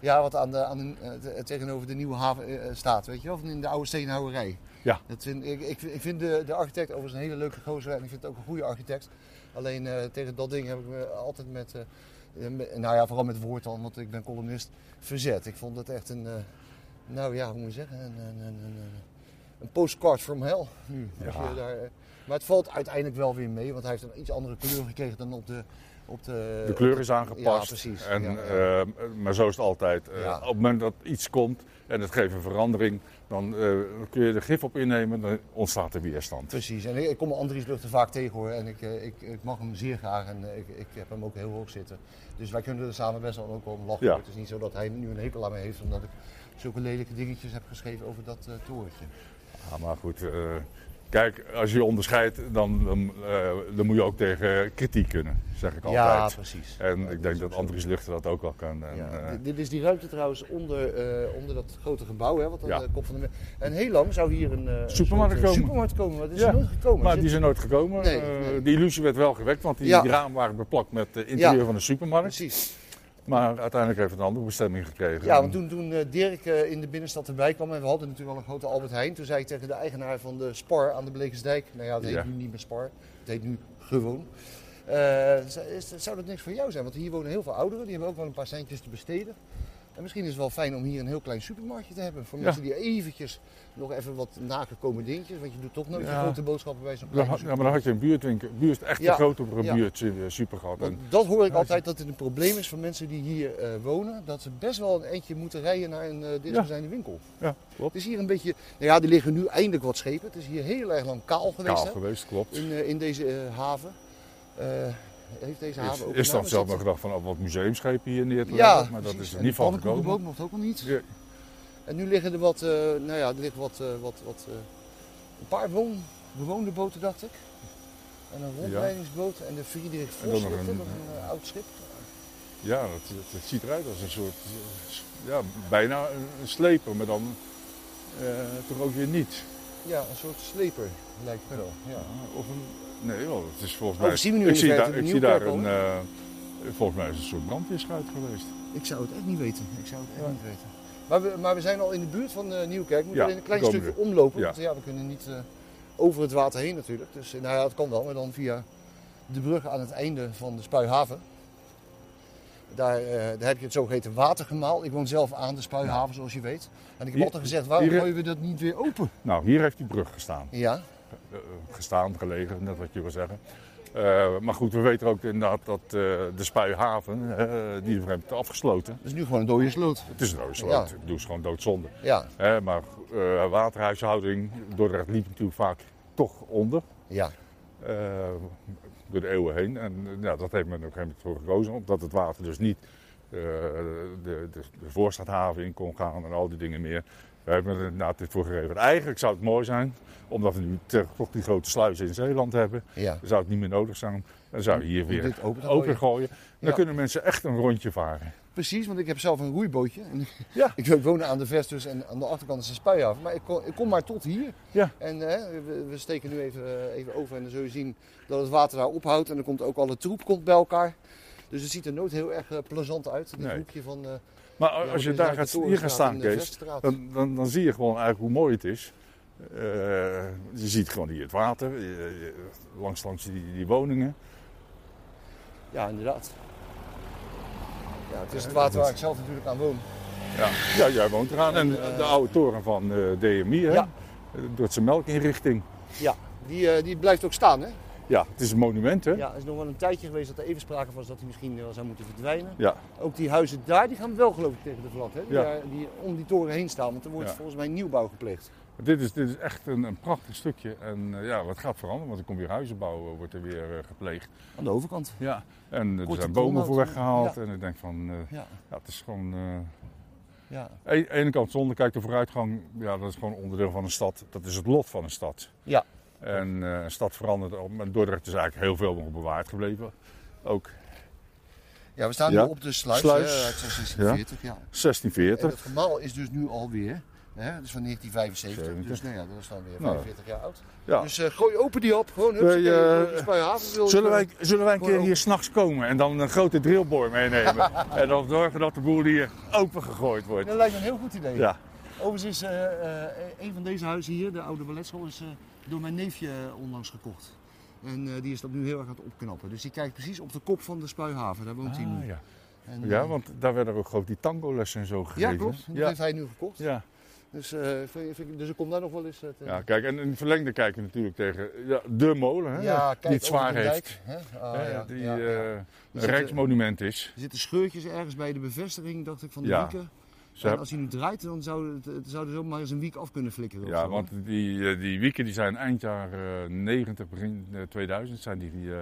C: ja, wat aan de, aan de, eh, te- tegenover de Nieuwe Haven eh, staat, weet je wel, van in de oude steenhouwerij.
B: Ja.
C: Dat vind, ik, ik, ik vind de, de architect overigens een hele leuke gozer en ik vind het ook een goede architect. Alleen eh, tegen dat ding heb ik me altijd met, eh, eh, met- nou ja, vooral met woord dan, want ik ben columnist, verzet. Ik vond het echt een, eh, nou ja, hoe moet je zeggen, een, een, een, een, een postcard from hell nu. Als
B: Ja.
C: je daar, eh, maar het valt uiteindelijk wel weer mee, want hij heeft een iets andere kleur gekregen dan op de... Op de,
B: De kleur is
C: Ja,
B: aangepast.
C: precies.
B: En,
C: Ja, ja.
B: eh, maar zo is het altijd. Eh,
C: Ja.
B: Op het moment dat iets komt en het geeft een verandering, dan eh, kun je er gif op innemen. Dan ontstaat er weerstand.
C: Precies, en ik, ik kom Andries Luchten vaak tegen hoor. En ik, eh, ik, ik mag hem zeer graag en eh, ik, ik heb hem ook heel hoog zitten. Dus wij kunnen er samen best wel ook wel om lachen.
B: Ja.
C: hoor. Het is niet zo dat hij nu een hekel aan me heeft omdat ik zulke lelijke dingetjes heb geschreven over dat eh torentje.
B: Ja, maar goed. eh, kijk, als je je onderscheidt, dan, dan, eh, dan moet je ook tegen kritiek kunnen. Zeg ik
C: Ja,
B: altijd.
C: precies.
B: en
C: Ja,
B: ik
C: dat
B: denk
C: is
B: dat
C: ook zo.
B: Andries Luchten dat ook wel kan. En,
C: Ja.
B: eh,
C: Dit- dit is die ruimte trouwens onder, eh, onder dat grote gebouw, hè, wat aan
B: Ja.
C: de kop van de... me- En heel lang zou hier een eh, een
B: Supermarkt
C: soort, eh,
B: komen.
C: supermarkt komen, maar dat is
B: Ja,
C: er nooit gekomen.
B: Maar
C: Zit-
B: die zijn nooit gekomen.
C: Nee,
B: Eh,
C: nee.
B: Die illusie werd wel gewekt, want die
C: Ja.
B: raam waren beplakt met het interieur
C: Ja.
B: van de supermarkt.
C: Precies.
B: Maar uiteindelijk heeft het een andere bestemming gekregen.
C: Ja, want toen, toen eh, Dirk eh, in de binnenstad erbij kwam en we hadden natuurlijk al een grote Albert Heijn, toen zei ik tegen de eigenaar van de Spar aan de Blekensdijk, nou ja, dat heet
B: Ja.
C: nu niet meer Spar, het heet nu gewoon. Eh, zei- is- zou dat niks voor jou zijn? Want hier wonen heel veel ouderen, die hebben ook wel een paar centjes te besteden. En misschien is het wel fijn om hier een heel klein supermarktje te hebben. Voor
B: Ja.
C: mensen die eventjes nog even wat nagekomen dingetjes. Want je doet toch nooit
B: Ja.
C: de grote boodschappen bij zo'n
B: Dan
C: kleine
B: had- ja, maar dan had je een buurtwinkel, buurt, echt
C: Ja.
B: een grotere
C: Ja.
B: buurt eh, super gehad. En,
C: want dat hoor ik altijd dat het een probleem is voor mensen die hier eh, wonen. Dat ze best wel een eindje moeten rijden naar een eh dichtstbijzijnde winkel.
B: ja, klopt.
C: Het is hier een beetje, nou ja, er liggen nu eindelijk wat schepen. Het is hier heel erg lang kaal geweest
B: Kaal
C: hè,
B: geweest, klopt.
C: in, eh, in deze eh, haven. Eh, heeft deze
B: Is,
C: haven ook
B: is
C: een
B: dan
C: naam?
B: zelf
C: dat-
B: nog gedacht van oh, wat museumschepen hier neer te
C: Ja,
B: leggen, maar dat
C: precies.
B: is er
C: En
B: niet
C: de
B: van
C: pannenkoekenboot
B: gekomen.
C: mocht ook nog niet.
B: Ja.
C: En nu liggen er wat, eh, nou ja, er liggen wat, eh, wat, wat eh, een paar woon, bewoonde boten, dacht ik. En een rondleidingsboot en de Friedrich
B: En dan
C: Vos,
B: nog
C: ligt er,
B: een-
C: nog een eh, oud eh, schip.
B: Ja, dat, dat- dat ziet eruit als een soort, eh, ja, bijna een, een sleper, maar dan eh, toch ook weer niet.
C: Ja, een soort sleper lijkt me wel. Ja.
B: Of een, nee, wel, het is volgens
C: Oh,
B: mij...
C: dat zien we nu in
B: ik
C: de
B: zie,
C: verte,
B: daar,
C: de
B: ik zie daar een,
C: Nieuwkerk
B: eh, volgens mij is het een soort brandweerschuit geweest.
C: Ik zou het echt niet weten. Ik zou het echt
B: Ja.
C: niet weten. Maar we, maar we zijn al in de buurt van eh Nieuwkerk. Moeten
B: Ja,
C: we alleen een klein
B: we komen
C: stukje omlopen.
B: Ja.
C: Want ja, we kunnen niet eh, over het water heen natuurlijk. Dus eh, nou ja, dat kan wel. Maar dan via de brug aan het einde van de Spuihaven. Daar, eh, daar heb je het zogeheten watergemaal. Ik woon zelf aan de Spuihaven, zoals je weet. En ik heb
B: Hier-
C: altijd gezegd, waarom
B: hier-
C: gooien we dat niet weer open?
B: Nou, hier heeft die brug gestaan.
C: Ja,
B: Eh, gestaan, gelegen, net wat je wil zeggen. Eh, maar goed, we weten ook inderdaad dat eh, de Spuihaven, eh, die heeft afgesloten.
C: dat is nu gewoon een dode sloot.
B: Het is een rode sloot,
C: Ja.
B: het is gewoon doodzonde.
C: Ja,
B: Hè, maar eh, waterhuishouding, Dordrecht liep natuurlijk vaak toch onder.
C: ja.
B: eh, door de eeuwen heen. En eh, nou, dat heeft men op een gegeven moment voor gekozen. Omdat het water dus niet eh, de, de, de voorstadhaven in kon gaan en al die dingen meer. Daar hebben we er inderdaad dit voor gegeven. Eigenlijk zou het mooi zijn, omdat we nu ter- toch die grote sluizen in Zeeland hebben.
C: ja.
B: Dan zou het niet meer nodig zijn. Dan zou je hier
C: Om dit
B: weer
C: open te
B: open
C: gooien.
B: gooien. Dan
C: Ja.
B: kunnen mensen echt een rondje varen.
C: Precies, want ik heb zelf een roeibootje. En
B: Ja.
C: Ik woon aan de Vest dus en aan de achterkant is een spuihaven. Maar ik kom, ik kom maar tot hier.
B: Ja.
C: En hè, we, we steken nu even, eh, even over en dan zul je zien dat het water daar ophoudt. En dan komt ook alle troep komt bij elkaar. Dus het ziet er nooit heel erg eh, plezant uit. Dit
B: Nee.
C: hoekje van... eh,
B: Maar
C: ja,
B: als je
C: wat is
B: daar
C: het,
B: gaat,
C: de
B: hier gaat
C: Torenstraat
B: staan,
C: en de
B: Kees,
C: Veststraat.
B: dan, dan, dan zie je gewoon eigenlijk hoe mooi het is. Eh, je ziet gewoon hier het water, eh, eh, langs, langs die, die woningen.
C: Ja, inderdaad. Ja, het is het water waar ik zelf natuurlijk aan woon.
B: Ja, ja jij woont eraan. En
C: eh,
B: de oude toren van eh, DMI, hè?
C: Ja.
B: Eh, Dortse Melkinrichting.
C: Ja, die, eh, die blijft ook staan hè.
B: Ja, het is een monument, hè?
C: Ja, er is nog wel een tijdje geweest dat er even sprake was dat hij misschien eh, wel zou moeten verdwijnen.
B: Ja.
C: Ook die huizen daar, die gaan wel geloof ik tegen de vlak, hè? Die,
B: Ja.
C: daar- die om die toren heen staan, want er wordt
B: Ja.
C: volgens mij nieuwbouw gepleegd.
B: Dit, is, dit is echt een, een prachtig stukje. En eh, ja, wat gaat veranderen, want er komt weer huizenbouw, eh, wordt er weer eh, gepleegd.
C: Aan de overkant.
B: Ja. En eh, er
C: Korte
B: zijn bomen
C: doorloop,
B: voor
C: hè?
B: weggehaald.
C: Ja.
B: En ik denk van, eh,
C: Ja,
B: ja, het is gewoon... eh,
C: ja.
B: Aan de ene kant zonde, kijk, de vooruitgang, ja, dat is gewoon onderdeel van een stad. Dat is het lot van een stad.
C: Ja.
B: En eh, een stad verandert. ook. Maar Dordrecht is eigenlijk heel veel nog bewaard gebleven. Ook
C: ja we staan
B: Ja.
C: nu op de sluis,
B: Sluis.
C: hè, uit 1640. Ja. En
B: 1640.
C: het gemaal is dus nu alweer, hè, dus van 1975,
B: 70.
C: dus nou ja, dat is dan weer
B: Nou.
C: 45 jaar oud.
B: Ja.
C: Dus eh, gooi open die op, gewoon hup,
B: Wij,
C: nee,
B: eh,
C: uh,
B: Zullen wij, zullen wij een
C: Gewoon
B: keer hier
C: open.
B: s'nachts komen en dan een grote drillboor meenemen? en dan zorgen dat de boel hier open gegooid wordt.
C: eh, Dat lijkt me een heel goed idee.
B: Ja,
C: Overigens is eh, eh, een van deze huizen hier, de oude balletschool, is eh, door mijn neefje eh, onlangs gekocht. En eh, die is dat nu heel erg aan het opknappen. Dus die kijkt precies op de kop van de Spuihaven, daar woont hij nu.
B: Ah, ja.
C: En, eh,
B: ja want daar werden ook gewoon die tangolessen en zo gegeven.
C: ja, klopt. Dat
B: Ja,
C: heeft hij nu gekocht.
B: ja.
C: Dus, eh, vind, vind ik- dus ik kom daar nog wel eens. eh, te-
B: ja, kijk, en in het verlengde kijken we natuurlijk tegen ja, de molen, hè,
C: Ja, kijk,
B: die het
C: over
B: zwaar
C: de
B: heeft.
C: dijk, hè? Ah,
B: Hè,
C: ja,
B: die
C: ja, ja.
B: eh,
C: Die
B: een
C: zitten-
B: rijksmonument is.
C: Er zitten scheurtjes ergens bij de bevestiging, dacht ik, van de
B: Ja.
C: wieken.
B: Ze
C: En
B: hebben-
C: als hij nu draait, dan zou het, het zou er zomaar eens een wiek af kunnen flikkeren. of
B: ja,
C: zo.
B: want die, eh, die wieken die zijn eind jaar eh, 90, begin eh, 2000 zijn die, eh,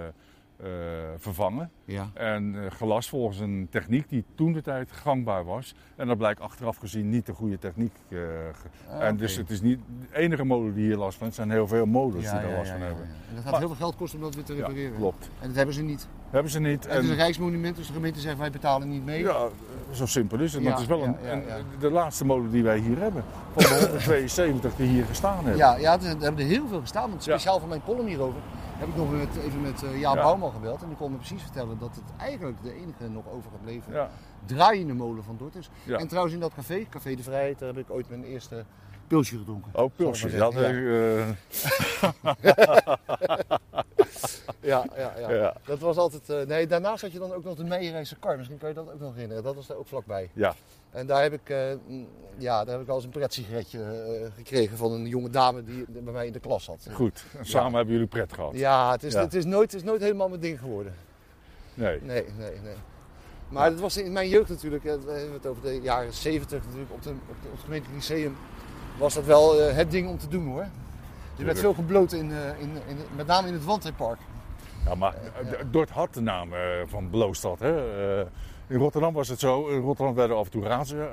B: eh, vervangen.
C: Ja,
B: En eh, gelast volgens een techniek die toen de tijd gangbaar was. En dat blijkt achteraf gezien niet de goede techniek. eh, ge-
C: Ah,
B: en dus
C: oké.
B: het is niet de enige molen die hier last van heeft. Het zijn heel veel molens die daar last van
C: ja,
B: hebben.
C: ja. En dat gaat
B: Maar-
C: heel veel geld kosten om dat weer te
B: Ja,
C: repareren.
B: klopt.
C: En dat hebben ze niet.
B: Hebben ze niet.
C: Het is een
B: En,
C: rijksmonument, dus de gemeente zegt wij betalen niet mee.
B: ja, zo simpel is het. Maar
C: Ja,
B: het is wel
C: ja,
B: een,
C: ja,
B: en,
C: ja.
B: eh, de laatste molen die wij hier hebben. Van de 172 die hier gestaan hebben.
C: Ja, ja, er er hebben er heel veel gestaan. Want
B: Ja.
C: speciaal voor mijn column hierover heb ik nog met, even met eh Jaap
B: Ja.
C: Bouwman gebeld. En die kon me precies vertellen dat het eigenlijk de enige nog overgebleven
B: Ja,
C: draaiende molen van Dort is.
B: ja.
C: En trouwens in dat café, Café de Vrijheid, daar heb ik ooit mijn eerste pilsje gedronken.
B: Oh, pulsjes.
C: Zal
B: Ja, eh,
C: ik maar zeggen,
B: de,
C: Ja, ja, ja.
B: eh, ja.
C: Dat was altijd... eh, nee, daarnaast had je dan ook nog de Meijerijse kar. Misschien kan je dat ook nog herinneren. Dat was daar ook vlakbij.
B: Ja.
C: En daar heb ik, eh, mm, ja, daar heb ik al eens een pretsigaretje sigaretje gekregen van een jonge dame die bij mij in de klas zat.
B: goed. En Samen hebben jullie pret gehad.
C: Ja, het is,
B: Ja.
C: Het, is nooit, het is nooit helemaal mijn ding geworden.
B: Nee.
C: Nee, nee, nee. Maar dat was in mijn jeugd natuurlijk, eh, we hebben het over de jaren 70 natuurlijk, op, de, op, de- op het gemeentelijk lyceum was dat wel eh, het ding om te doen hoor. Je
B: Tuurlijk.
C: werd veel gebloten, in, eh, in, in, met name in het Wandheidpark.
B: Ja, maar eh, D- Dort had de naam eh, van Bloostad. Hè? Eh, in Rotterdam was het zo. In Rotterdam werden af en toe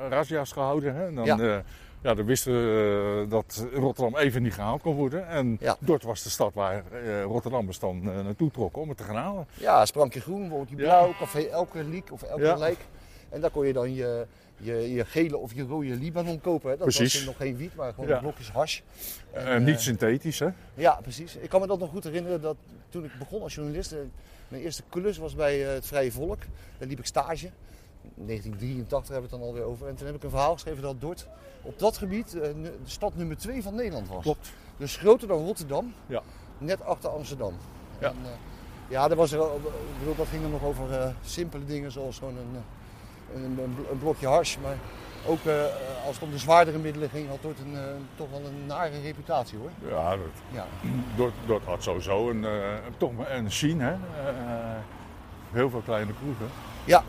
B: razzia's gehouden. Hè? En dan
C: Ja.
B: eh, Ja, dan wisten we eh, dat Rotterdam even niet gehaald kon worden. En
C: Ja.
B: Dort was de stad waar eh, Rotterdammers dan eh, naartoe trokken om het te gaan halen.
C: Ja, Sprankje Groen, bijvoorbeeld die
B: Ja.
C: blauw, Café Elke Liek of Elke
B: Ja.
C: Lijk. En daar kon je dan je, je, je gele of je rode Libanon kopen. Hè. Dat
B: Precies.
C: was nog geen wiet, maar gewoon
B: Ja.
C: blokjes hash.
B: Eh,
C: eh,
B: niet synthetisch, hè?
C: Ja, precies. Ik kan me dat nog goed herinneren dat toen ik begon als journalist, eh, mijn eerste klus was bij eh, het Vrije Volk. Daar liep ik stage. 1983 hebben we het dan alweer over. En toen heb ik een verhaal geschreven dat Dort op dat gebied eh, nu- de stad nummer 2 van Nederland was.
B: Klopt.
C: Dus groter dan Rotterdam,
B: Ja.
C: net achter Amsterdam.
B: Ja.
C: En, eh, ja, dat, was er, wel- ik bedoel, dat ging dan nog over eh, simpele dingen zoals gewoon een, eh, een, een bl- een blokje hars. Maar ook eh, als het om de zwaardere middelen ging, had Dort een, eh, toch wel een nare reputatie hoor.
B: Ja, dat,
C: Ja.
B: Dort, Dort had sowieso een, eh, toch maar een scene, hè? Eh, heel veel kleine kroegen.
C: Ja,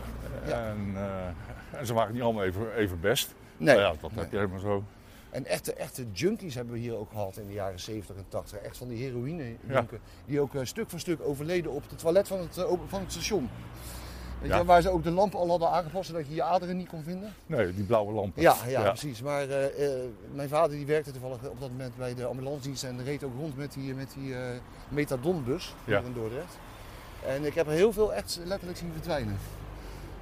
C: Ja.
B: En, eh, en ze waren niet allemaal even, even best.
C: nee.
B: Nou ja, dat
C: Nee.
B: heb je helemaal zo.
C: En echte, echte junkies hebben we hier ook gehad in de jaren 70 en 80. Echt van die heroïne junken, Die ook eh, stuk voor stuk overleden op het toilet van het, eh, open- van het station. Weet
B: Ja.
C: je, waar ze ook de lampen al hadden aangepast zodat je je aderen niet kon vinden.
B: Nee, die blauwe lampen.
C: Ja, ja, precies. Maar eh, eh, mijn vader die werkte toevallig op dat moment bij de ambulancedienst en reed ook rond met die, met die eh, methadonbus
B: Ja.
C: hier in Dordrecht. En ik heb er heel veel echt letterlijk zien verdwijnen.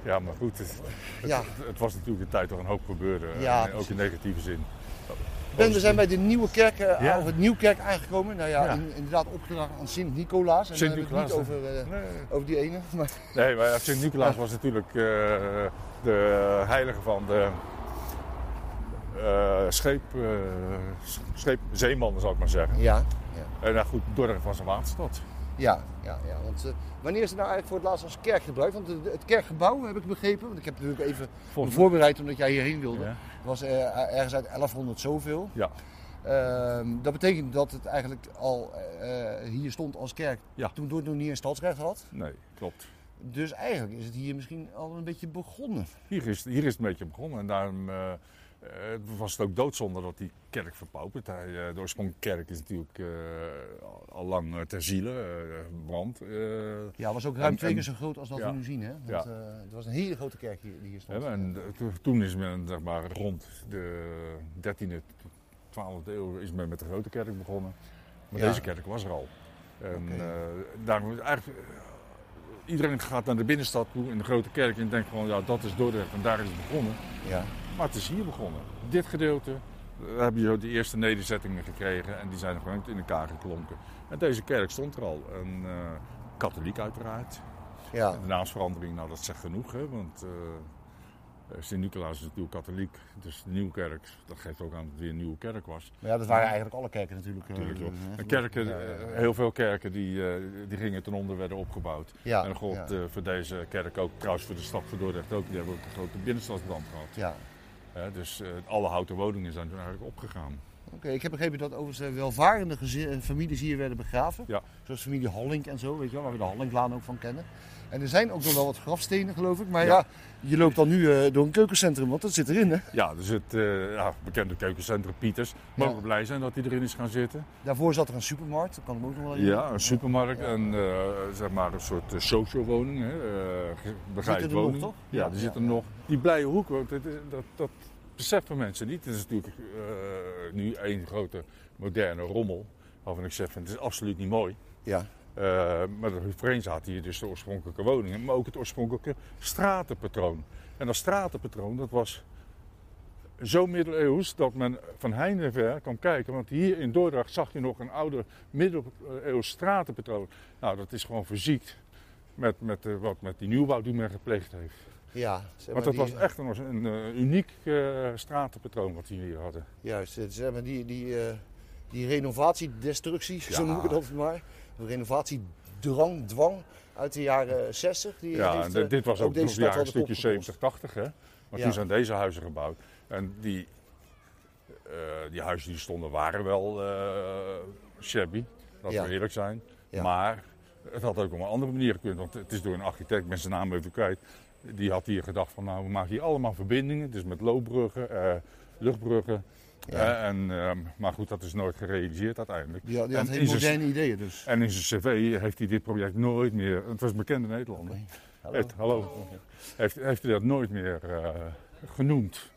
B: Ja, maar goed, het,
C: Ja.
B: het, het was natuurlijk een tijd dat er een hoop gebeurde. eh,
C: Ja,
B: ook in negatieve zin.
C: Ben, we zijn bij de Nieuwe Kerk, eh,
B: Ja.
C: of het Nieuwkerk aangekomen. Nou ja,
B: Ja.
C: in- inderdaad opgedragen aan Sint-Nicolaas. En dan hebben we het niet
B: Sint-Nicolaas,
C: over, eh,
B: Nee,
C: over die ene. Maar
B: nee maar ja, Sint-Nicolaas was natuurlijk eh, de heilige van de eh, scheep, eh, scheep, zeemannen, zou ik maar zeggen.
C: Ja,
B: En nou goed, Dordrecht was een waterstad.
C: ja, ja. ja. Want eh, wanneer is het nou eigenlijk voor het laatst als kerk gebruikt? Want de- de- het kerkgebouw heb ik begrepen, want ik heb natuurlijk even me
B: Volgens mij.
C: voorbereid omdat jij hierheen wilde.
B: Ja.
C: Het was eh, ergens uit 1100 zoveel.
B: Ja.
C: Ehm, dat betekent dat het eigenlijk al eh, hier stond als kerk
B: Ja.
C: toen Dordrecht nog niet een stadsrecht had.
B: Nee, klopt.
C: Dus eigenlijk is het hier misschien al een beetje begonnen.
B: Hier is, hier is het een beetje begonnen. En daarom eh, eh, was het ook doodzonde dat die kerk verpauperd. Hij, eh, de oorspronkelijke kerk is natuurlijk eh, al- al lang eh, ter ziele, eh, brand. eh,
C: Ja, was ook ruim
B: En-
C: twee
B: en-
C: keer zo groot als dat
B: ja.
C: we nu zien. Hè? Want,
B: Ja.
C: eh, het was een hele grote kerk hier, die hier stond.
B: hè, en eh, to- toen is men zeg maar, rond de 13e, 12e eeuw is men met de grote kerk begonnen. Maar
C: Ja.
B: deze kerk was er al. En
C: Oké.
B: eh, daarom is eigenlijk, eh, iedereen gaat naar de binnenstad toe in de grote kerk en denkt gewoon, ja, dat is Dordrecht en daar is het begonnen.
C: ja.
B: Maar het is hier begonnen. Dit gedeelte eh, heb je de eerste nederzettingen gekregen en die zijn gewoon in elkaar geklonken. En deze kerk stond er al. En eh, katholiek uiteraard.
C: Ja.
B: De naamsverandering, nou dat zegt genoeg, hè, want eh, Sint-Nicolaas is natuurlijk katholiek. Dus de nieuwe kerk, dat geeft ook aan dat het weer een nieuwe kerk was.
C: Maar ja, dat waren eigenlijk alle kerken natuurlijk. eh,
B: Natuurlijk, joh.
C: eh,
B: En kerken,
C: Ja, ja, ja.
B: eh, heel veel kerken die, eh, die gingen ten onder, werden opgebouwd.
C: Ja,
B: en eh, God
C: ja.
B: voor deze kerk ook, trouwens voor de stad van Dordrecht ook, die hebben ook een grote binnenstadsbrand gehad.
C: ja.
B: Hè, dus eh, alle houten woningen zijn toen eigenlijk opgegaan.
C: Oké, ik heb begrepen dat overigens eh, welvarende gezi- eh, families hier werden begraven.
B: Ja.
C: Zoals familie Hallink en zo, weet je wel, waar we de Hallinklaan ook van kennen. En er zijn ook nog wel wat grafstenen, geloof ik. Maar ja,
B: Ja.
C: je loopt dan nu eh, door een keukencentrum, want dat zit erin, hè?
B: Ja, dus het eh, ja, bekende keukencentrum Pieters. Mogen
C: Ja.
B: we blij zijn dat hij erin is gaan zitten.
C: Daarvoor zat er een supermarkt, dat kan ik me ook nog wel
B: Ja, een
C: supermarkt.
B: supermarkt
C: Ja.
B: en eh, zeg maar een soort eh, socialwoning. Hè, eh, ge- begeleid
C: er nog,
B: woning.
C: toch?
B: Ja,
C: Ja,
B: die
C: ja,
B: zitten
C: ja.
B: nog. Die blije hoek, want dat, dat, dat beseffen mensen niet. Het is natuurlijk eh, nu één grote moderne rommel. Waarvan ik zeg, van, het is absoluut niet mooi.
C: Ja.
B: Eh, maar voorheen zaten hier dus de oorspronkelijke woningen, maar ook het oorspronkelijke stratenpatroon. En dat stratenpatroon, dat was zo middeleeuws dat men van heinde ver kan kijken. Want hier in Dordrecht zag je nog een oude middeleeuws stratenpatroon. Nou, dat is gewoon verziekt met, met, eh, wat, met die nieuwbouw die men gepleegd heeft.
C: ja zeg
B: Want
C: maar
B: dat
C: die-
B: was echt een, een, eh, uniek eh, stratenpatroon wat we hier hadden.
C: Juist, eh, zeg maar die, die, eh, die renovatiedestructie,
B: Ja.
C: zo noem ik het altijd maar. Renovatiedrang, dwang uit de jaren 60. Die
B: Ja,
C: heeft,
B: en
C: eh,
B: dit was ook
C: deze
B: nog
C: stad
B: jaren
C: wel
B: een
C: de
B: stukje
C: kop gekost.
B: 70, 80 hè. Maar
C: Ja.
B: toen zijn deze huizen gebouwd. En die, eh, die huizen die stonden waren wel eh, shabby, laten
C: Ja.
B: we eerlijk zijn.
C: Ja.
B: Maar het had ook op een andere manier gekund, want het is door een architect, met zijn naam even kwijt. Die had hier gedacht van nou we maken hier allemaal verbindingen, dus met loopbruggen, eh, luchtbruggen.
C: Ja.
B: eh, en, ehm, maar goed, dat is nooit gerealiseerd uiteindelijk.
C: Die had, die had
B: En
C: hele
B: in zijn-
C: moderne ideeën dus.
B: En in zijn cv heeft hij dit project nooit meer, het was een bekende Nederlander.
C: Hallo.
B: Heeft, hallo. Heeft, heeft hij dat nooit meer eh, genoemd?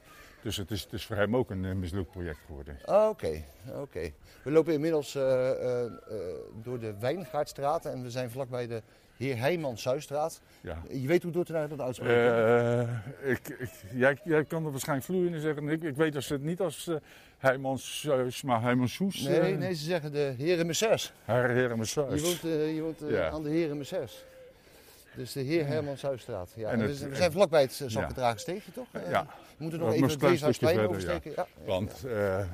B: Dus het is, het is voor hem ook een eh, mislukt project geworden.
C: Ah, Oké, oké. We lopen inmiddels eh, eh, eh, door de Wijngaardstraat en we zijn vlakbij de Heer Heijman Zuistraat.
B: Ja.
C: Je weet hoe Dordtenaar dat uitspreekt. hè?
B: Eh, ik, ik, jij, jij kan er waarschijnlijk vloeiend in zeggen. Ik, ik weet dat ze het niet als eh Heimans Zeus, maar Heimans Soes. eh,
C: nee, nee, ze zeggen de Heren Messers.
B: Haar heren
C: Je woont, eh, je woont eh,
B: Ja.
C: aan de Heren Messers. Dus de Heer Herman Zuistraat. Ja.
B: En
C: En
B: het-
C: we, we zijn vlakbij het eh, zakgedragen steegje, toch? Eh,
B: Ja,
C: We moeten
B: nog
C: nog
B: een
C: even het
B: klein
C: Weeshuis
B: stukje
C: Plein
B: verder, ja.
C: oversteken. Ja. Oh,
B: want eh,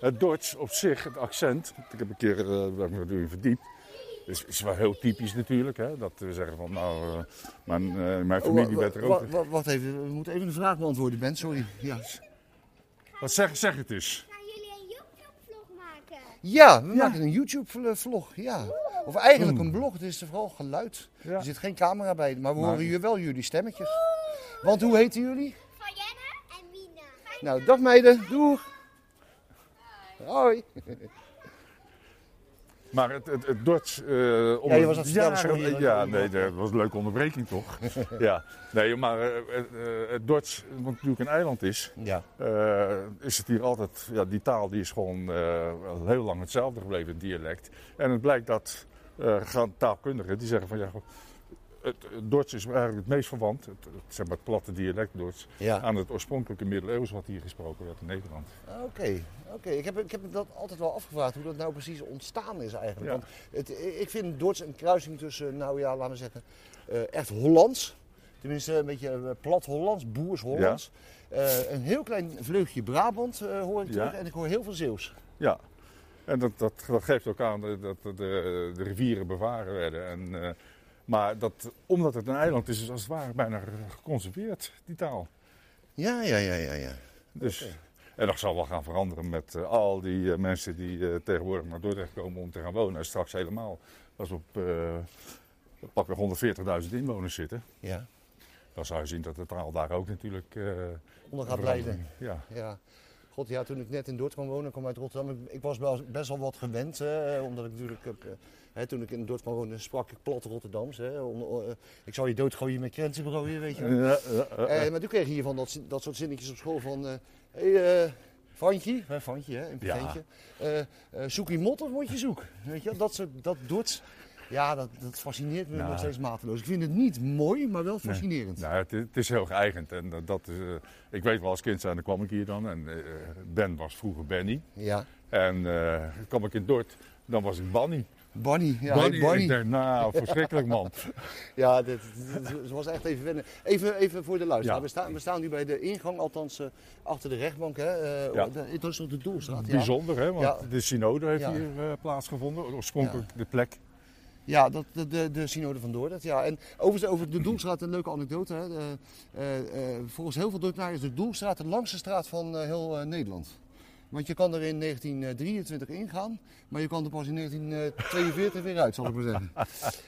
B: het Duits op zich, het accent, ik heb een keer eh, daar heb ik me erin verdiept, is, is wel heel typisch natuurlijk. Hè? Dat we zeggen van, nou, eh, mijn, eh, mijn
C: Oh,
B: familie
C: wa-
B: werd er
C: wa-
B: ook...
C: wa- Wacht even, we moeten even een vraag beantwoorden, Ben. Sorry. Ja,
B: Wat zeg, zeg het eens.
D: Gaan jullie een YouTube-vlog maken?
C: ja we
B: Ja.
C: maken een YouTube-vlog. Ja. Of eigenlijk
B: Hmm.
C: een blog. Het is vooral geluid.
B: Ja.
C: Er zit geen camera bij, maar we
B: Maar-
C: horen hier wel jullie stemmetjes. Want hoe heten jullie?
D: Van Jenne en Mina.
C: Nou, dag meiden. Doeg. Hoi.
B: Maar het, het, het Duits... eh, om
C: je was aan het vertellen,
B: jaren-
C: sorry, dat ik
B: ja,
C: onderbrak.
B: nee, dat was een leuke onderbreking toch. ja, nee, maar eh, eh, het Duits, wat natuurlijk een eiland is...
C: Ja.
B: Eh, is het hier altijd, ja, die taal die is gewoon eh, al heel lang hetzelfde gebleven, het dialect. En het blijkt dat eh, gaan taalkundigen die zeggen van ja, het, het Dorts is eigenlijk het meest verwant, het, het, zeg maar het platte dialect Dorts,
C: Ja.
B: aan het oorspronkelijke middeleeuws wat hier gesproken werd in Nederland.
C: Oké, Ah, oké. ik, heb, ik heb me dat altijd wel afgevraagd hoe dat nou precies ontstaan is eigenlijk.
B: Ja.
C: Want het, ik vind Dordt een kruising tussen, nou ja, laten we zeggen, eh, echt Hollands. Tenminste, een beetje eh, plat Hollands, boers Hollands. Eh, een heel klein vleugje Brabant eh, hoor ik
B: Ja.
C: terug en ik hoor heel veel Zeeuws.
B: Ja, en dat, dat, dat geeft ook aan dat de, de, de rivieren bewaren werden. En, eh, maar dat, omdat het een eiland is, is als het ware bijna geconserveerd, die taal.
C: Ja, ja, ja, ja, ja.
B: Dus, En dat zal wel gaan veranderen met eh, al die eh, mensen die eh, tegenwoordig naar Dordrecht komen om te gaan wonen. En straks helemaal. Als we op eh, pakweg 140.000 inwoners zitten,
C: ja.
B: dan zou je zien dat de taal daar ook natuurlijk... eh,
C: Onder gaat
B: verandering-
C: leiden.
B: Ja.
C: Ja. God, ja, toen ik net in Dordt kwam wonen, kwam uit Rotterdam. Ik, ik was wel- best wel wat gewend, hè, omdat ik natuurlijk... eh, hè, toen ik in Dordt kwam wonen, sprak ik plat Rotterdams. Hè, om- eh, ik zou je doodgooien met krentenbrooien, weet je wel.
B: Ja, ja, ja,
C: Eh, maar toen kreeg je hiervan dat, zin- dat soort zinnetjes op school van... eh hey, eh Fantje, hè, Fantje, hè, een
B: Ja.
C: patiëntje. Eh, eh, zoek je mot of moet je zoek? Weet je, wel, dat, soort, dat doet... Ja, dat, dat fascineert me
B: Ja.
C: nog steeds mateloos. Ik vind het niet mooi, maar wel
B: Nou. Nee.
C: fascinerend.
B: Nou, het, is- het is heel geëigend. En eh, dat is, eh, ik weet wel, als kind zijn, dan kwam ik hier dan. En eh, Ben was vroeger Benny.
C: Ja.
B: En eh, kwam ik in Dordt, dan was ik Banny.
C: Bonnie, ja,
B: Banny,
C: hey, Bonnie.
B: Ik dacht, nou, verschrikkelijk man.
C: Ja, dit, dit- dit was echt even wennen. Even, even voor de luisteraar.
B: Ja.
C: We, staan, we staan nu bij de ingang, althans eh, achter de rechtbank. Hè. Eh,
B: Ja.
C: de- het was op de Doelstraat. Ja,
B: Bijzonder, hè? Want
C: Ja.
B: de synode heeft
C: Ja.
B: hier eh, plaatsgevonden. Oorspronkelijk de plek.
C: ja dat, de, de, de synode van Dordrecht. Ja. En overigens over de Doelstraat, een leuke anekdote. Hè. Eh, eh, eh, volgens heel veel Dordtenaars is de Doelstraat de langste straat van eh, heel eh, Nederland. Want je kan er in 1923 ingaan, maar je kan er pas in 1942 weer uit, zal ik maar zeggen.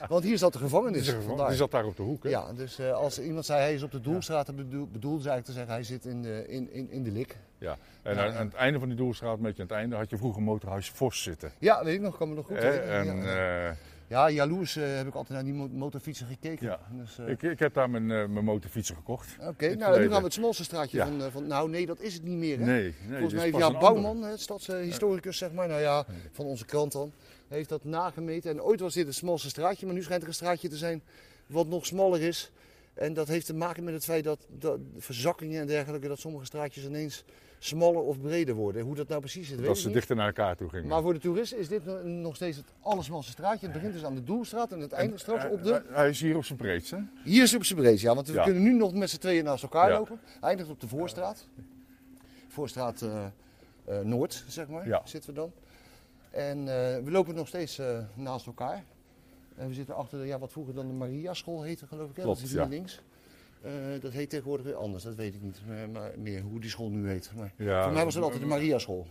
C: Want hier zat de gevangenis. vandaar.
B: Die zat daar op de hoek, hè?
C: Ja, dus eh, als iemand zei hij is op de doelstraat, dan bedoel, bedoelde ze eigenlijk te zeggen hij zit in de, in, in, in de lik.
B: Ja. En
C: Ja,
B: aan,
C: ja.
B: aan het einde van die doelstraat, een beetje aan het einde, had je vroeger motorhuis Vos zitten.
C: Ja, weet ik nog, kan me nog goed
B: Hè?
C: herinneren.
B: En
C: ja, ja.
B: eh,
C: Ja, jaloers eh, heb ik altijd naar die mo- motorfietsen gekeken.
B: Ja.
C: Dus, eh,
B: ik, ik heb daar mijn, eh, mijn motorfietsen gekocht.
C: Oké,
B: in het
C: nou nu
B: verleden.
C: gaan we het smalste straatje
B: Ja.
C: van, eh, van... Nou nee, dat is het niet meer hè?
B: Nee, nee. dit
C: Volgens
B: is
C: mij heeft
B: pas
C: Jaap
B: een andere.
C: Bouwman, hè, stadshistoricus zeg maar, nou ja, van onze krant dan, heeft dat nagemeten. En ooit was dit het smalste straatje, maar nu schijnt er een straatje te zijn wat nog smaller is. En dat heeft te maken met het feit dat, dat verzakkingen en dergelijke, dat sommige straatjes ineens smaller of breder worden. Hoe dat nou precies zit, weet
B: Dat
C: ik
B: ze
C: niet. Nou,
B: dichter naar elkaar toe gingen.
C: Maar voor de toeristen is dit no- nog steeds het allersmalste straatje. Het begint dus aan de Doelstraat en het eindigt straks op de...
B: eh, Hij- Hij is hier op zijn breedst, hè?
C: Hier is op zijn breed, ja. Want we
B: Ja.
C: kunnen nu nog met z'n tweeën naast elkaar
B: Ja.
C: lopen. Eindigt op de Voorstraat. Voorstraat eh, eh, Noord, zeg maar,
B: Ja.
C: zitten we dan. En eh, we lopen nog steeds eh, naast elkaar. En we zitten achter de, ja, wat vroeger dan de Maria School heette, geloof ik. Hè?
B: Klopt,
C: dat is hier
B: ja.
C: links. Eh, dat heet tegenwoordig weer anders, dat weet ik niet meer, maar meer hoe die school nu heet. Maar
B: Ja,
C: voor mij was dat altijd de Maria School.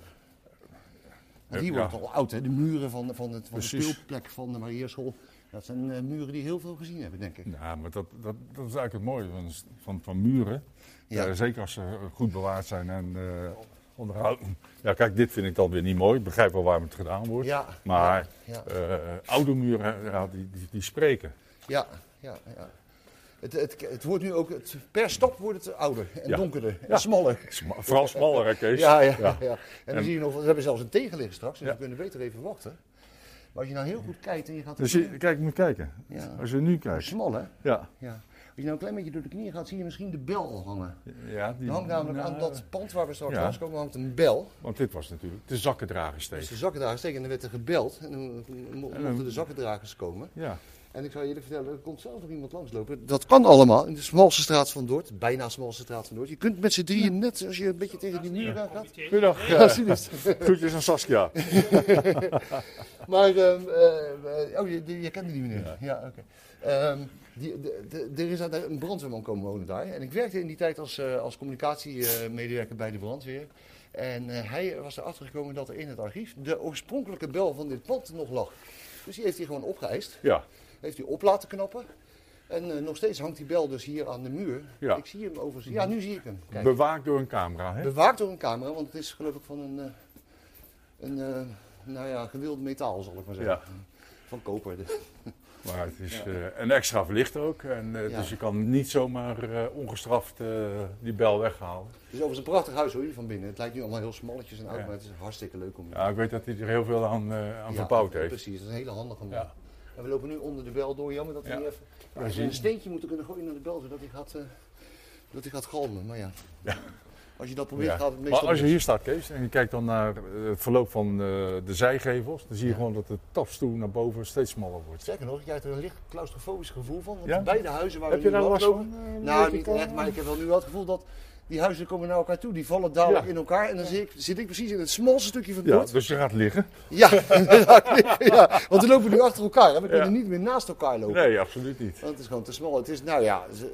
C: Want hier
B: Ja.
C: wordt het al oud, hè? de muren van, van, het, van de
B: Precies.
C: speelplek van de Maria School. Dat zijn eh, muren die heel veel gezien hebben, denk ik.
B: Nou, maar dat, dat, dat is eigenlijk het mooie van, van, van muren.
C: Ja.
B: Eh, zeker als ze goed bewaard zijn en eh, onderhouden. Ja, kijk, dit vind ik dan weer niet mooi. Ik begrijp wel waarom het gedaan wordt.
C: Ja,
B: Maar
C: ja, ja.
B: eh, oude muren, ja, die, die, die spreken.
C: Ja, ja, ja. Het, het, het wordt nu ook, het, per stap wordt het ouder en
B: Ja.
C: donkerder en
B: Ja.
C: smaller.
B: Sma- Vooral smaller, hè, Kees?
C: Ja, ja, ja.
B: Ja.
C: En, dan
B: En-
C: zie je nog, we hebben zelfs een tegenligger straks, dus
B: Ja.
C: we kunnen beter even wachten. Maar als je nou heel goed kijkt en je gaat...
B: Dus je, kijk, moet kijken.
C: Ja.
B: Als je nu kijkt.
C: Smal, hè?
B: Ja.
C: Ja. Als je nou een klein beetje door de knieën gaat, zie je misschien de bel al hangen.
B: ja die,
C: Er hangt namelijk
B: nou,
C: aan dat pand waar we straks
B: Ja.
C: langskomen, hangt een bel.
B: Want dit was natuurlijk de zakkendragersteek.
C: Dus de zakkendragers steken en dan werd er gebeld. En dan mo-
B: dan-
C: mochten de zakkendragers komen.
B: Ja.
C: En ik zou je eerlijk vertellen, er komt zelfs nog iemand langslopen. Dat kan allemaal in de smalste straat van Dordt, bijna smalste straat van Dordt. Je kunt met z'n drieën net, als je een beetje tegen die muur aan gaat.
B: Goedendag.
C: Ja, alsjeblieft.
B: Groetjes aan Saskia.
C: Maar, ehm, eh, eh, oh, je, die- je kende die meneer. Ja, oké. Ehm, die- de- de- er is daar een brandweerman komen wonen daar. En ik werkte in die tijd als, eh, als communicatiemedewerker bij de brandweer. En eh, hij was erachter gekomen dat er in het archief de oorspronkelijke bel van dit pand nog lag. Dus die heeft hij gewoon opgeëist.
B: Ja.
C: Heeft hij op laten knappen. En eh, nog steeds hangt die bel dus hier aan de muur.
B: Ja.
C: Ik zie hem overigens. Ja, nu zie ik hem. Kijk.
B: Bewaakt door een camera, hè?
C: Bewaakt door een camera, want het is geloof ik van een, eh, een eh, nou ja, gewild metaal, zal ik maar zeggen.
B: Ja.
C: Van koper.
B: Maar het is eh, een extra verlicht ook. En, eh,
C: Ja.
B: Dus je kan niet zomaar eh, ongestraft eh, die bel weghalen.
C: Het is overigens een prachtig huis hoor, hier van binnen. Het lijkt nu allemaal heel smalletjes en oud,
B: Ja.
C: maar het is hartstikke leuk om hier
B: Ja, ik weet dat hij er heel veel aan, eh aan
C: Ja,
B: verbouwd heeft.
C: Precies, dat is een hele handige man.
B: Ja.
C: En we lopen nu onder de bel door. Jammer dat hij
B: Ja.
C: even...
B: Ja,
C: als we
B: zie je.
C: een steentje moeten kunnen gooien naar de bel, zodat hij gaat, eh, dat hij gaat galmen. Maar ja. als je dat probeert,
B: Ja.
C: gaat het meestal
B: Maar als je
C: mis.
B: hier staat, Kees, en je kijkt dan naar eh, het verloop van eh, de zijgevels, dan zie je
C: Ja.
B: gewoon dat de tapstoel naar boven steeds smaller wordt.
C: Sterker nog, jij hebt er een licht claustrofobisch gevoel van. Want
B: Ja?
C: beide huizen waar
B: Heb
C: we
B: je
C: nu
B: daar last
C: rondlopen-
B: van? eh,
C: Nou,
B: met die
C: niet
B: camera?
C: echt, maar ik heb wel nu wel het gevoel dat die huizen komen naar elkaar toe. Die vallen dadelijk
B: Ja.
C: in elkaar en dan zit, ik, zit ik precies in het smalste stukje van het
B: Ja,
C: bord.
B: dus je gaat liggen.
C: Ja, ja, want we lopen nu achter elkaar en we kunnen niet meer naast elkaar lopen.
B: Nee, absoluut niet.
C: Want het is gewoon te smal. Het is, nou ja, z- eh,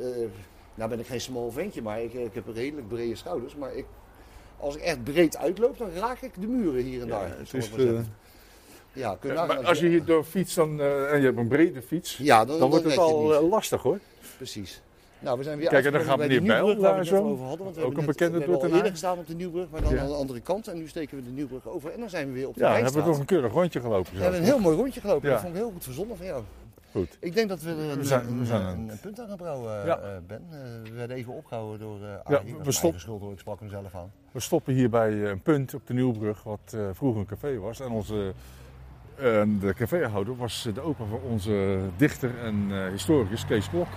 C: nou ben ik geen smal ventje, maar ik, ik heb redelijk brede schouders. Maar ik, als ik echt breed uitloop, dan raak ik de muren hier en daar.
B: Ja, het
C: zal ik
B: is,
C: maar zeggen.
B: eh,
C: ja, kun je
B: Ja,
C: nagaan
B: maar als je hier door fietst dan, eh, en je hebt een brede fiets,
C: Ja, dan,
B: dan wordt
C: red
B: het
C: je
B: al
C: niet.
B: eh, lastig hoor.
C: Precies. Nou, we zijn weer
B: Kijk, en dan
C: uitgekomen
B: gaat
C: bij
B: meneer Bijl
C: die Nieuwbrug waar we
B: daar
C: het
B: zo.
C: net over hadden, want we
B: Ook
C: hebben
B: een
C: net-
B: bekende
C: We hebben al
B: Dordtenaar.
C: eerder gestaan op de Nieuwbrug, maar dan
B: Ja.
C: aan de andere kant. En nu steken we de Nieuwbrug over en dan zijn we weer op de
B: Ja, dan hebben we
C: Rijnstraat.
B: toch een keurig rondje gelopen.
C: We
B: Zo.
C: hebben een heel mooi rondje gelopen.
B: Ja.
C: Dat vond ik heel goed verzonnen van jou.
B: Goed.
C: Ik denk dat we er een,
B: We zijn- we
C: een-
B: zijn
C: een-
B: aan het-
C: een punt aan gaan brouwen, eh,
B: Ja.
C: eh, Ben. Eh, we werden even opgehouden door eh Arie.
B: we
C: Dat is mijn
B: stop-
C: eigen schuld, hoor. Ik sprak hem zelf aan.
B: We stoppen hier bij eh, een punt op de Nieuwbrug, wat eh, vroeger een café was. En onze, eh, de caféhouder was eh, de opa van onze dichter en eh, historicus Kees Klok.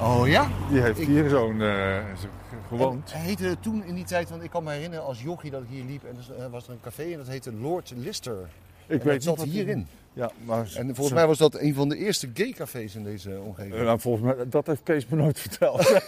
C: Oh ja?
B: Die heeft
C: Ik-
B: hier zo'n eh, zo- gewoond.
C: Hij heette toen in die tijd, want ik kan me herinneren als jochie dat ik hier liep. En er eh, was er een café en dat heette Lord Lister.
B: ik
C: en dat zat
B: wat die-
C: hierin.
B: Ja, maar
C: En volgens mij was dat een van de eerste gaycafés in deze omgeving.
B: Eh, nou, volgens mij, dat heeft Kees me nooit verteld.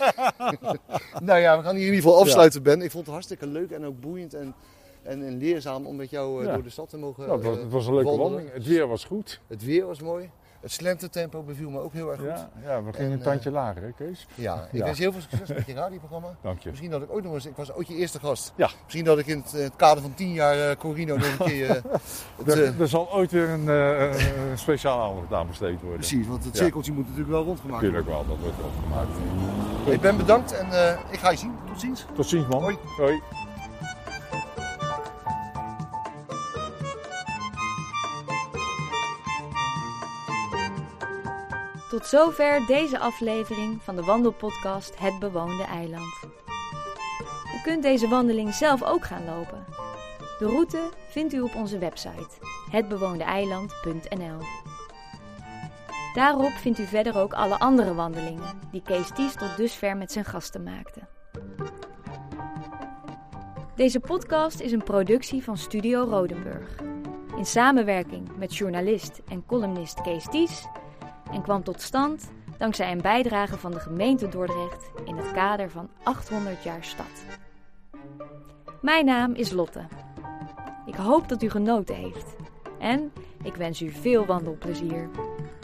C: Nou ja, we gaan hier in ieder geval afsluiten, Ben. Ik vond het hartstikke leuk en ook boeiend en, en, en leerzaam om met jou eh,
B: Ja.
C: door de stad te mogen
B: Nou, het, was,
C: eh,
B: het was een leuke
C: wandelen.
B: wandeling. Het weer was goed.
C: Het weer was mooi. Het slentertempo beviel me ook heel erg goed. Ja,
B: Ja, ja, we gingen
C: En,
B: een
C: eh,
B: tandje lager, hè, Kees?
C: ik
B: Ja.
C: wens je heel veel succes met je radioprogramma.
B: Dank je.
C: Misschien dat ik ooit nog eens... Ik was ooit je eerste gast.
B: Ja.
C: Misschien dat ik in het, eh, het kader van tien jaar eh, Corino nog een keer... eh, het, eh,
B: Er, er zal ooit weer een eh, eh, speciale aandacht aan besteed worden.
C: precies, want het
B: Ja.
C: cirkeltje moet natuurlijk wel rondgemaakt worden.
B: Tuurlijk wel, dat wordt wel gemaakt.
C: Ik ben bedankt en eh, ik ga je zien. Tot ziens.
B: Tot ziens, man.
C: Hoi.
B: Hoi.
A: Tot zover deze aflevering van de wandelpodcast Het Bewoonde Eiland. U kunt deze wandeling zelf ook gaan lopen. De route vindt u op onze website hetbewoondeeiland.nl. Daarop vindt u verder ook alle andere wandelingen die Kees Ties tot dusver met zijn gasten maakte. Deze podcast is een productie van Studio Rodenburg. In samenwerking met journalist en columnist Kees Ties en kwam tot stand dankzij een bijdrage van de gemeente Dordrecht in het kader van 800 jaar stad. Mijn naam is Lotte. Ik hoop dat u genoten heeft en ik wens u veel wandelplezier.